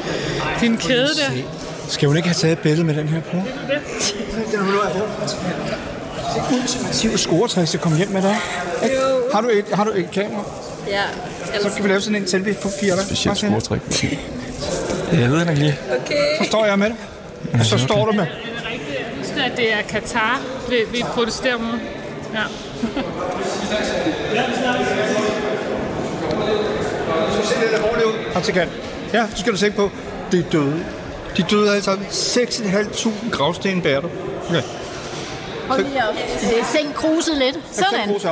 din kæde der.
Skal hun ikke have taget et billede med den her bror? Ultimativ scoretræk, så kom hjem med dig. Ikke? Har du et, har du et kamera?
Ja,
Så kan vi lave sådan en selfie på fire.
Specielt scoretræk.
Jeg ved det nok lige.
okay.
Så står jeg med dig. Og så står du med.
Jeg husker, at det er Katar, vi, vi protesterer mod. Ja.
Så ser det lidt hårdt ud. Praktikant. Ja, det skal du tænke på. Det er døde. De døde alle sammen. 6.500 gravsten bærer du. Ja.
Prøv lige at øh, sænke kruset lidt. Sådan.
Sænk kruset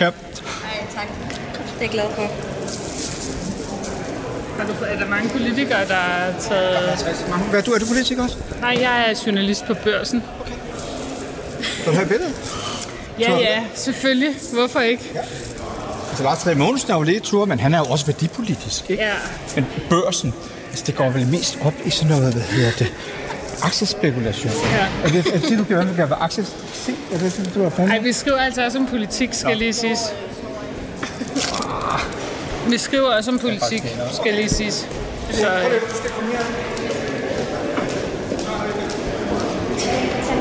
Ja.
Nej, tak. Det er jeg glad for.
Har du, er der mange politikere, der har taget...
Hvad er du? Er du politiker også?
Nej, jeg er journalist på børsen.
Vil du have et billede?
Ja,
Så-
ja, selvfølgelig. Hvorfor ikke?
Altså, Lars Trier Mogensen er jo lægetur, men han er jo også værdipolitisk, ikke?
Ja.
Men børsen, altså, det går vel mest op i sådan noget, hvad hedder det? Aktiespekulation.
Ja.
Er, det, er det det, du gør, du gør ved aktier? Se, er det det, du har fandme?
Ej, vi skriver altså også om politik, skal lige siges. Vi skriver også om politik, skal lige siges. Så, øh,
Tænd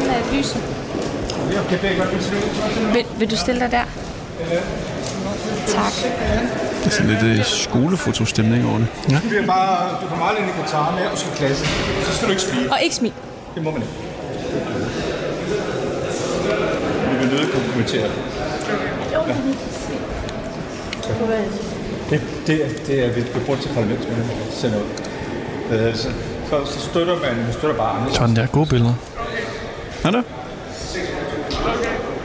øh, lyset. Vil, vil du stille dig der? Tak.
Det er sådan lidt øh, skolefotostemning over det. Ja.
Du, bliver bare, du kommer aldrig ind i Katar med og skal klasse. Så skal du ikke spille.
Og ikke smil.
Det må man ikke. Vi vil nødt kompromittere. Ja. Det, det, er- det er vi vi bruger til parlament, men sender ud. Øh, Så, så, så støtter man, man støtter bare andre.
Sådan der. Gode billeder. Er der?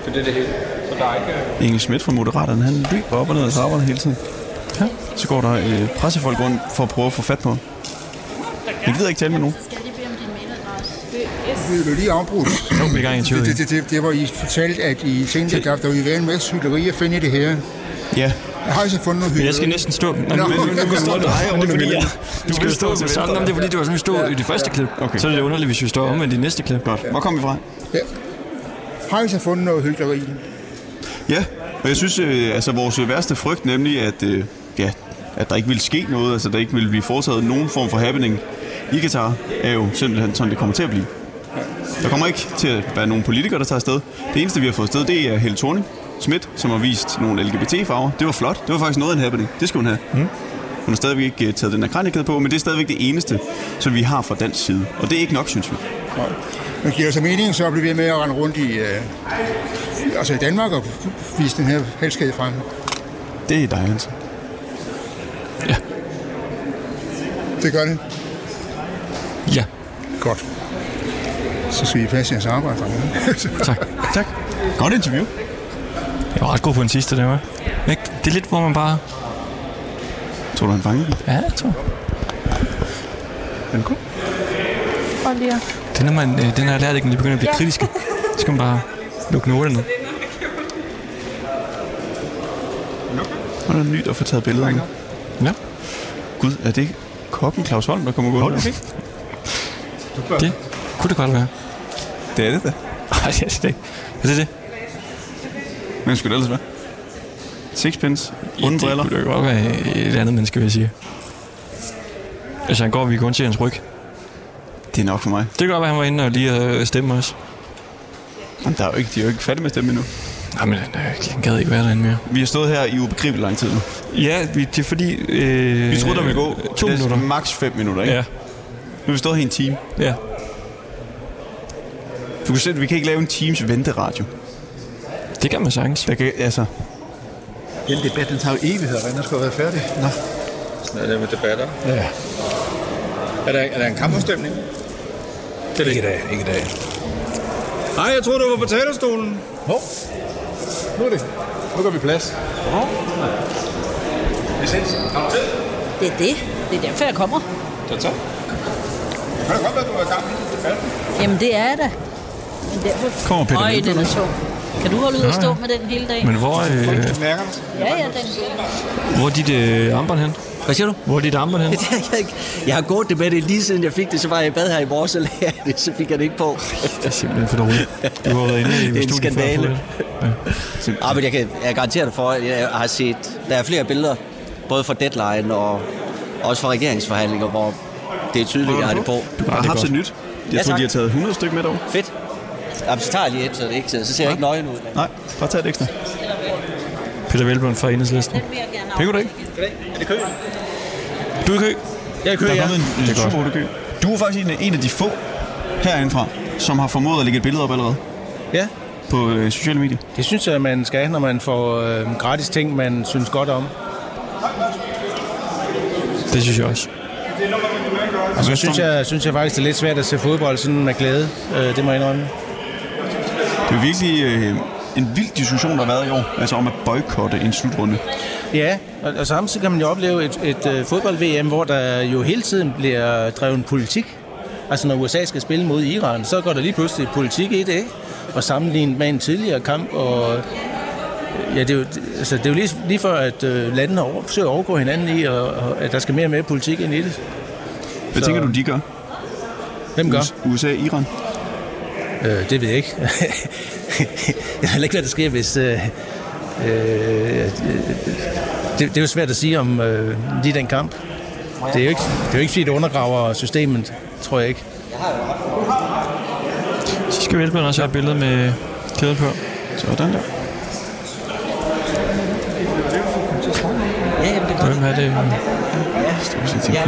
For det er det hele. Så der er ikke...
Inge Schmidt fra Moderaterne, han løber op og ned ad trapperne hele tiden. Ja. Så går der øh, pressefolk rundt for at prøve at få fat på ham. Jeg gider ikke tale med nogen.
Vil du lige afbrudt?
Jo, vi er i gang i
Det, det, det, det, det var I fortalte, at I tænkte, at der der ville være en masse hyggeleri at finde i det her.
Ja.
Jeg har I så fundet noget hyggeleri?
Jeg skal næsten stå. Men, men, men, men, du kan stå
Nå.
dig rundt om
Emilie.
Du skal stå til sådan, om det er fordi, du var sådan, stod i det første klip. Okay. Så er det underligt, hvis vi står omvendt i det næste klip. Godt.
Hvor kom vi fra?
Ja. Har I så fundet noget hyggeleri?
Ja, og jeg synes, øh, altså vores værste frygt nemlig, at, øh, ja, at der ikke ville ske noget, altså der ikke ville blive foretaget nogen form for happening i Katar, er jo simpelthen sådan, det kommer til at blive. Der kommer ikke til at være nogen politikere, der tager afsted. Det eneste, vi har fået afsted, det er Helle Thorning Schmidt, som har vist nogle LGBT-farver. Det var flot. Det var faktisk noget af en happening. Det skulle hun have. Mm. Hun har stadigvæk ikke øh, taget den her kranikæde på, men det er stadigvæk det eneste, som vi har fra dansk side. Og det er ikke nok, synes vi.
Men giver det så mening, så bliver vi ved med at rende rundt i, øh, altså i Danmark og vise den her helskade frem.
Det er dig, Hans.
Det gør det.
Ja.
Godt. Så skal I passe jeres arbejde. drenge.
Tak. tak.
Godt interview.
Jeg var ret god på den sidste, der var. Ikke? Det er lidt, hvor man bare...
Tror du, han fangede den?
Ja, jeg tror.
Den god.
Prøv lige at...
Det er, når man, øh, den har jeg lært ikke, når de begynder at blive
Ja.
kritiske. Så skal man bare lukke nålene. ned.
Og der er nyt at få taget billeder nu.
Ja.
Gud, er det kokken Claus Holm, der kommer gående? Okay.
Det kunne det godt være.
Det er det da.
Nej, det er det ikke. Er det det?
Hvem skulle det ellers være? Sixpence? Runde briller?
Det kunne da godt være et andet menneske, vil jeg sige. Altså, han går, vi kun se hans ryg.
Det er nok for mig.
Det kan godt være, han var inde og lige øh, stemme os.
Jamen, der er jo ikke, de er jo ikke færdige med at stemme endnu.
Jamen, han gad ikke være derinde mere.
Vi har stået her i ubegribelig lang tid nu.
Ja, vi, det er fordi... Øh,
Vi troede, der ville gå
to
næsten
minutter.
maks 5 minutter, ikke?
Ja.
Nu har vi stået her i en time.
Ja.
Du kan se, at vi kan ikke lave en times venteradio.
Det kan man sagtens.
Der kan, altså,
Hele debatten tager jo evigheder, den skulle have været færdig. Nå. Sådan er det med debatter.
Ja.
Er der, er der en kampafstemning? Det er ikke i dag, ikke i dag.
Nej, jeg troede, du var på talerstolen.
Hov. Nu er det. Nu gør vi plads. Hov. Vi ses. Kom til.
Det er det. Det er derfor, jeg kommer.
Tak, tak. Kan det godt være, du er i gang med debatten?
Jamen, det er jeg da. Men derfor...
Kommer Peter
Øj,
Velblom.
den er sjov. Kan du holde ud og
Nå,
stå
ja.
med den hele dagen?
Men hvor, øh,
Ja, ja, den
hvor er dit øh, armbånd hen?
Hvad siger du?
Hvor er dit armbånd hen?
Jeg har gået det med det lige siden jeg fik det, så var jeg i bad her i morges og lagde jeg det, så fik jeg det ikke på.
Det er simpelthen for dårligt. Du har været inde i
Det er en
studiet før,
skandale.
Ja.
Ah, men jeg kan jeg garanterer dig for, at jeg har set, der er flere billeder, både fra deadline og også fra regeringsforhandlinger, hvor det er tydeligt, at jeg har det på.
Du har haft et nyt. Jeg tror, de har taget 100 stykker med dog.
Fedt. Jamen, så tager jeg lige et, så det ikke sidder. Så ser jeg ikke nøgen ud.
Nej, bare tag et ekstra.
Peter Velblom fra Enhedslisten. Penge du ikke?
Er det kø?
Du er i kø.
Jeg er i kø, Der er
ja.
kommet en,
Det er
en
godt.
super kø. Du er faktisk en, af- en af de få herindefra, som har formået at lægge et billede op allerede.
Ja.
På øh, sociale medier.
Det synes jeg, man skal, når man får øh, gratis ting, man synes godt om.
Det synes jeg også.
Og
Altså,
så synes jeg, synes jeg faktisk, det er lidt svært at se fodbold sådan med glæde. Øh, det må jeg indrømme.
Det er virkelig øh, en vild diskussion, der har været i år. Altså om at boykotte en slutrunde.
Ja, og, og samtidig kan man jo opleve et, et øh, fodbold-VM, hvor der jo hele tiden bliver drevet politik. Altså når USA skal spille mod Iran, så går der lige pludselig politik i det, ikke? Og sammenlignet med en tidligere kamp, og øh, ja, det er jo, det- altså, det er jo lige, lige før, at øh, landene over, forsøger at overgå hinanden i, og, og at der skal mere og mere politik ind i det.
Hvad tænker du, de gør?
Hvem gør?
USA Iran?
Øh, det ved jeg ikke. jeg ved ikke, hvad der sker, hvis... Øh, øh, øh, det, det er jo svært at sige om øh, lige den kamp. Det er, jo ikke, det er jo ikke, fordi det undergraver systemet, tror jeg ikke.
Så skal Velblom også have et billede med kæden på.
Sådan der.
Ja, jamen, det er godt.
Hvem er det?
Ja.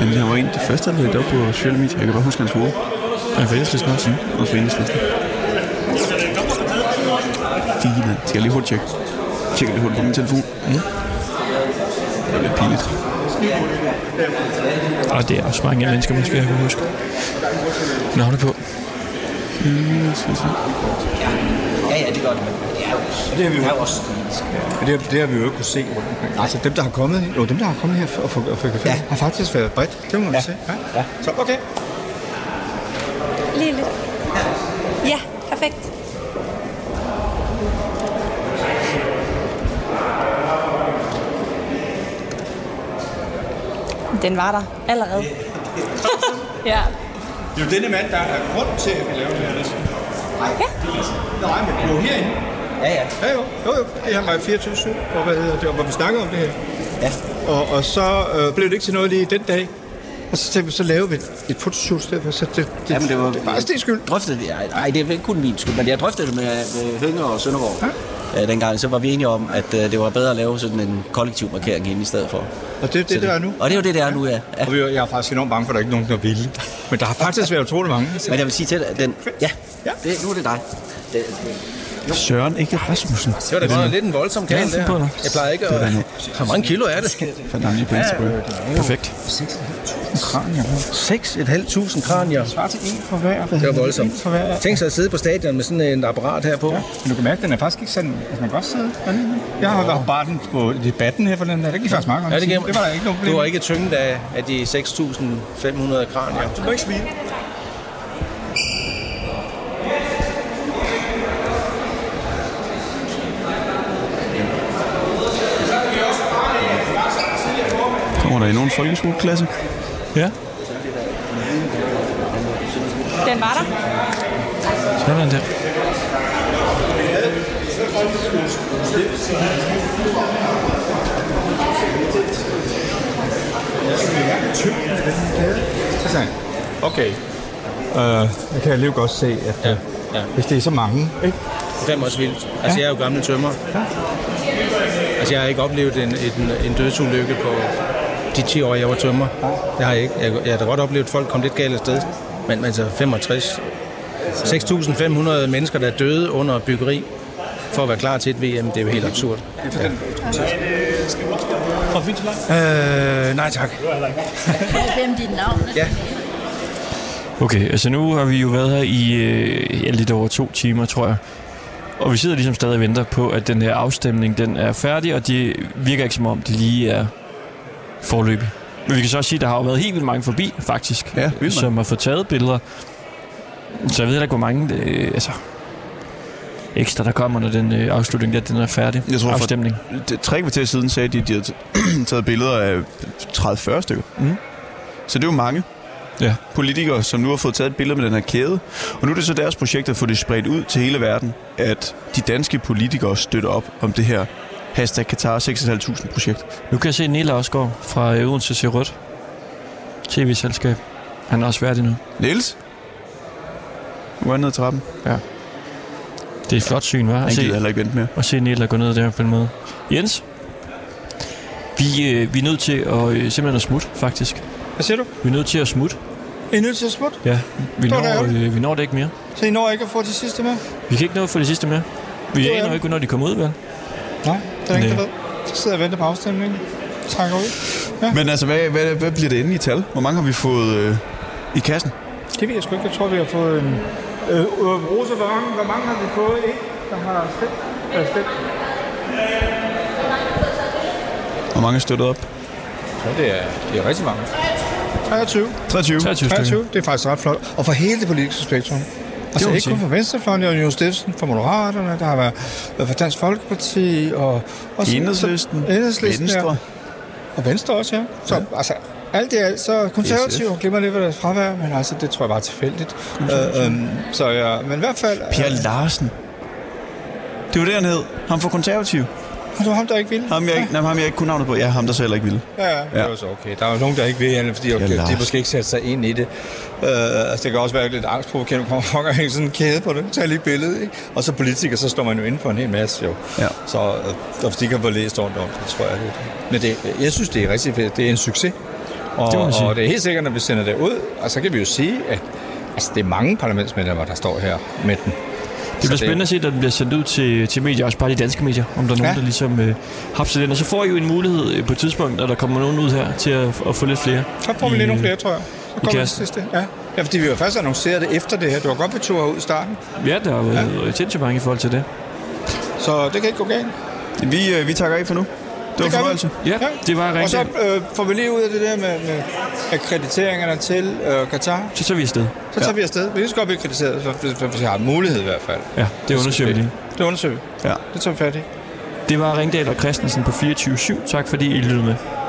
Men det her var en af de første, der lagde det op på sociale medier. Jeg kan bare huske hans hoved.
Og for enhedslisten også.
Mm, og for enhedslisten. Fint, mand. Skal jeg lige hurtigt tjekke? Tjekke lige hurtigt på min telefon. Mm. Det er lidt pinligt.
Og det er også mange mennesker, måske jeg kan huske. Navne på.
Mm, skal vi se.
Ja, ja, det er godt. Det er jo,
Det har vi jo-
det er jo også.
Men det, har- det har vi jo ikke kunne se rundt omkring. Altså dem, der har kommet, jo, dem, der har kommet her og få, og få ja. har faktisk været bredt. Det må man ja. se. Ja. ja. Så okay.
Lige lidt. Ja, perfekt. Den var der allerede. ja.
Det er jo denne mand, der er grund til, at vi laver det her. Næsten. Nej, Nej, men jo herinde.
Ja, ja.
Ja, jo. jo, jo. Det her var i 24 og hvad hedder det, og hvor vi snakker om det her.
Ja.
Og, og så øh, blev det ikke til noget lige den dag. Og så tænkte vi, så laver vi et fotoshoot i stedet for. Så det, det,
Jamen, det var
bare
det
skyld.
Drøftede det. Ej, Nej, det er ikke kun min skyld, men jeg drøftede det med, med Hønge og Søndergaard. Ja. Øh, dengang, så var vi enige om, at øh, det var bedre at lave sådan en kollektiv markering ind i stedet for.
Og det er det,
Så
det, der er nu.
Og det er jo det, der er nu, ja. ja.
Og vi- jeg er faktisk enormt bange for, at der ikke er nogen, der vil. Men der har faktisk været utrolig mange.
Men jeg vil sige til dig, at den, ja, det, nu er det dig. Det,
Søren ikke Rasmussen.
Det var da godt nok lidt en voldsom kage, det her. Jeg plejer ikke
Det var
at...
da nu.
Hvor mange kilo er det?
Fandt ham lige på Instagram. Perfekt.
6.500 kranier.
Svar til en for hver.
Det var voldsomt.
For hver.
Tænk sig at sidde på stadion med sådan et apparat her på. Ja.
Men du kan mærke, at den er faktisk ikke sådan, at man godt sidde. Jeg har været på barten på debatten her for den her. Det gik faktisk meget godt.
Ja, det, giver,
det var der ikke nogen problem.
Du var ikke tynget af, af de 6.500 kranier.
Du må ikke smile.
Kommer der i nogen folkeskoleklasse?
Ja.
Den var der.
Sådan der.
Interessant. Okay. Øh, jeg kan alligevel godt se, at ja.
ja.
hvis det er så mange, ikke?
Fem års vildt. Altså, jeg er jo gammel tømmer. Ja. Altså, jeg har ikke oplevet en, en, en dødsulykke på de 10 år, jeg var tømmer. Det har jeg ikke. Jeg, jeg har da godt oplevet, at folk kom lidt galt afsted. Men men altså, 65... 6.500 mennesker, der er døde under byggeri for at være klar til et VM, det er jo helt absurd. Ja.
Og vi til langt.
Øh, nej tak.
Glem dit navn.
Ja.
Okay, altså nu har vi jo været her i øh, ja, lidt over to timer, tror jeg. Og vi sidder ligesom stadig og venter på, at den her afstemning den er færdig, og det virker ikke som om, det lige er forløbig. Men vi kan så også sige, at der har jo været helt vildt mange forbi, faktisk, ja, som har fået taget billeder. Så jeg ved heller ikke, hvor mange øh, altså, ekstra, der kommer, når den øh, afslutning der, den er færdig.
Jeg tror,
afstemning.
For, det, tre kvarter siden sagde de, at de havde taget billeder af 30-40 stykker.
Mm.
Så det er jo mange
ja.
politikere, som nu har fået taget et billede med den her kæde. Og nu er det så deres projekt at få det spredt ud til hele verden, at de danske politikere støtter op om det her hashtag Qatar 6.500 projekt.
Nu kan jeg se Niel Osgaard fra øh, Odense til Rødt tv-selskab. Han er også værdig nu.
Niels? Nu er han nede ad trappen.
Ja. Det er et flot syn, hva'?
Han
At se-
gider heller ikke vente mere.
Og se Niel gå ned der på den måde. Jens? Vi, øh, vi er nødt til at øh, simpelthen at smutte, faktisk.
Hvad siger du?
Vi er nødt til at smutte.
I er nødt til at smutte,
Ja, vi
Det var da
når,
ærgerligt.
øh, vi når det ikke mere.
så I når ikke at få de sidste med.
Vi kan ikke nå at få det sidste med. Vi
Det
aner
er
jo
ærgerligt.
ikke, når de kommer ud, vel?
Nej, det er ikke
Nej.
der ved. Så sidder jeg og venter på afstemningen. Trækker ud. Ja.
Men altså, hvad, hvad, hvad bliver det endelige tal? Hvor mange har vi fået øh, i kassen?
Det ved jeg sgu ikke. Jeg tror, vi har fået en... Øh, øh, Rosa, hvor mange, hvor mange har vi fået? En, der har stemt. Øh, stemt.
Hvor mange er støttet op?
Ja, det er, det er rigtig mange.
23.
23.
23 stykker.
23. Det er faktisk ret flot. Og for hele det politiske spektrum. Altså
må man
ikke kun
sige.
for Venstrefløjen, der er jo Jon Steffensen fra Moderaterne, der har været, været fra Dansk Folkeparti og... og så-
Enhedslisten.
Enhedslisten,
Venstre.
Ja. Og Venstre også, ja. Så ja. altså, alt i alt, så konservative
SF.
glemmer lidt, hvad der er fravær, men altså, det tror jeg bare er tilfældigt. Øh, øhm, så ja, men i hvert fald... øh,
Per Larsen. Det var det, han hed. Ham for konservativ.
Og du ham, der ikke ville?
Ham, jeg, ikke, nej, ham, jeg ikke kunne navnet på. Ja, ham, der så heller ikke ville.
Ja, ja.
Det er også okay. Der er jo nogen, der ikke ved, Anne, fordi okay, de
Lars.
måske ikke sætter sig ind i det. Uh, altså, det kan også være lidt angstprovokerende, kommer folk og hænger sådan en kæde på det, tager lige et billede, ikke? Og så politiker, så står man jo inde for en hel masse, jo.
Ja.
Så uh, hvis de kan få læst rundt om det, tror jeg lidt. Men det, jeg synes, det er rigtig fedt. Det er en succes. Og
Det må man sige.
og det er helt sikkert, når vi sender det ud, og så kan vi jo sige, at altså, det er mange parlamentsmedlemmer, der står her med den.
Det bliver spændende at se, når den bliver sendt ud til, til medier, også bare de danske medier, om der er nogen, ja. der ligesom øh, hapser den. Og så får I jo en mulighed øh, på et tidspunkt, når der kommer nogen ud her, til at, at få lidt flere.
Så får vi
i,
lidt nogle
øh,
flere, tror jeg. Så
i
kommer det
kassen.
sidste. Ja. ja, fordi vi jo først annonceret det efter det her. Du var godt på tur ud i starten,
Ja, der er jo ja. sindssygt mange i forhold til det.
så det kan ikke gå galt.
Vi, øh, vi takker af for nu. Det var en
gør vi.
fornøjelse.
Ja, det var
Og
rigtig.
så øh, får vi lige ud af det der med, med akkrediteringerne til øh, Katar.
Så tager vi afsted.
Så tager ja. vi afsted. Vi kan så godt blive kritiseret, for- for- for- hvis jeg har mulighed i hvert fald.
Ja, det undersøger vi lige.
Det undersøger vi.
Ja.
Det tager vi fat i.
Det var Ringdal og Christensen på 24-7. Tak fordi I lyttede med.